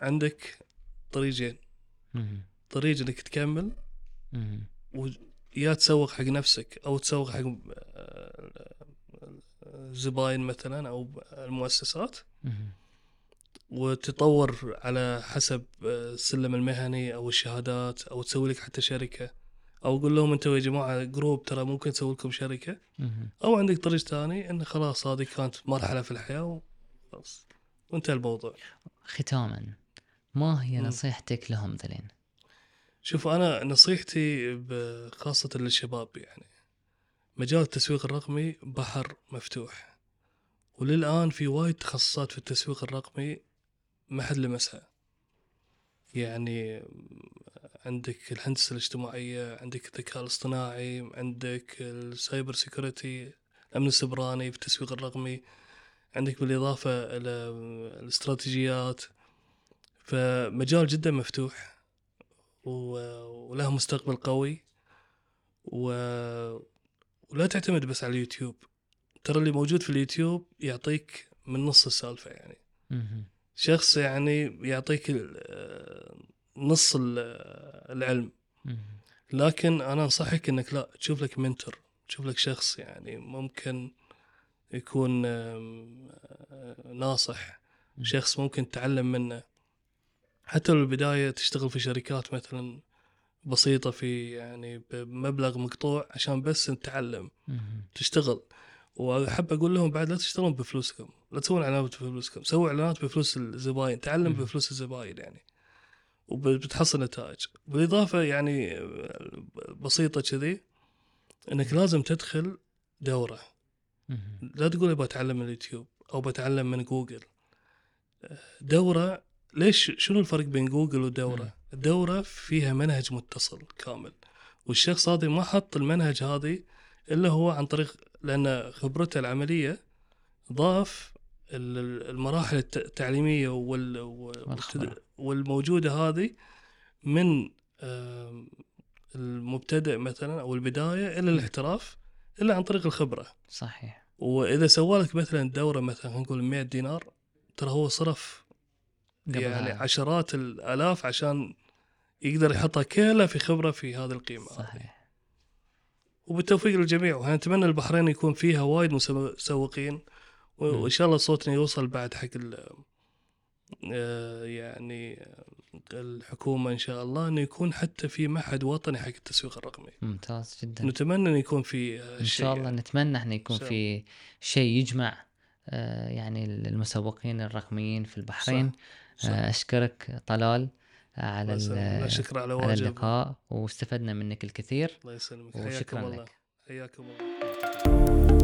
B: عندك طريقين
A: مهم.
B: طريق انك تكمل
A: مهم.
B: ويا تسوق حق نفسك او تسوق حق آه، الزباين مثلا او المؤسسات
A: مهم.
B: وتطور على حسب آه، السلم المهني او الشهادات او تسوي لك حتى شركه او اقول لهم انتم يا جماعه جروب ترى ممكن تسوي لكم شركه
A: مهم.
B: او عندك طريق ثاني انه خلاص هذه كانت مرحله في الحياه وخلاص وانتهى الموضوع
A: ختاما ما هي
B: مم.
A: نصيحتك لهم ذلين
B: شوف انا نصيحتي ب- خاصه للشباب يعني مجال التسويق الرقمي بحر مفتوح وللان في وايد تخصصات في التسويق الرقمي ما حد لمسها يعني عندك الهندسه الاجتماعيه عندك الذكاء الاصطناعي عندك السايبر سيكوريتي الامن السبراني في التسويق الرقمي عندك بالاضافه الى الاستراتيجيات فمجال جدا مفتوح و- وله مستقبل قوي و... ولا تعتمد بس على اليوتيوب ترى اللي موجود في اليوتيوب يعطيك من نص السالفة يعني
A: مهم.
B: شخص يعني يعطيك ال- آه، نص ال- آه، العلم
A: مهم.
B: لكن أنا أنصحك أنك لا تشوف لك منتور تشوف لك شخص يعني ممكن يكون آم، آه، ناصح شخص ممكن تتعلم منه حتى لو البداية تشتغل في شركات مثلا بسيطة في يعني بمبلغ مقطوع عشان بس نتعلم
A: مهم.
B: تشتغل وأحب أقول لهم بعد لا تشتغلون بفلوسكم لا تسوون إعلانات بفلوسكم سووا إعلانات بفلوس الزباين
A: مم.
B: تعلم بفلوس الزباين يعني وبتحصل نتائج بالإضافة يعني بسيطة كذي إنك لازم تدخل دورة
A: مهم.
B: لا تقول ابى اتعلم من اليوتيوب او بتعلم من جوجل دوره ليش شنو الفرق بين جوجل
A: مم.
B: ودوره؟ الدوره فيها منهج متصل كامل والشخص هذا ما حط المنهج هذه الا هو عن طريق لان خبرته العمليه ضاف ال- ال- المراحل الت- التعليميه وال
A: والخبرة.
B: والت- والموجوده هذه من آم، المبتدئ مثلا او البدايه الى الاحتراف الا عن طريق الخبره
A: صحيح
B: واذا سوالك مثلا دوره مثلا خلينا نقول 100 دينار ترى هو صرف
A: قبل
B: يعني
A: هذا.
B: عشرات الالاف عشان يقدر يحطها كلها في خبره في هذه القيمه هذه.
A: صحيح
B: وبالتوفيق للجميع ونتمنى البحرين يكون فيها وايد مسوقين و-
A: مم.
B: وان شاء الله صوتنا يوصل بعد حق ال آه، يعني آه، الحكومه ان شاء الله انه يكون حتى في معهد وطني حق التسويق الرقمي
A: ممتاز جدا
B: نتمنى انه يكون في آه،
A: ان
B: شيء
A: شاء الله
B: يعني.
A: نتمنى احنا يكون
B: إن شاء
A: في شيء يجمع آه، يعني المسوقين الرقميين في البحرين
B: صح.
A: آه، اشكرك طلال على
B: الله يسلمك. لا
A: ال-
B: شكر على
A: على
B: واجب
A: اللقاء واستفدنا منك الكثير
B: الله يسلمك حياكم
A: وشكرا
B: الله
A: لك
B: حياكم الله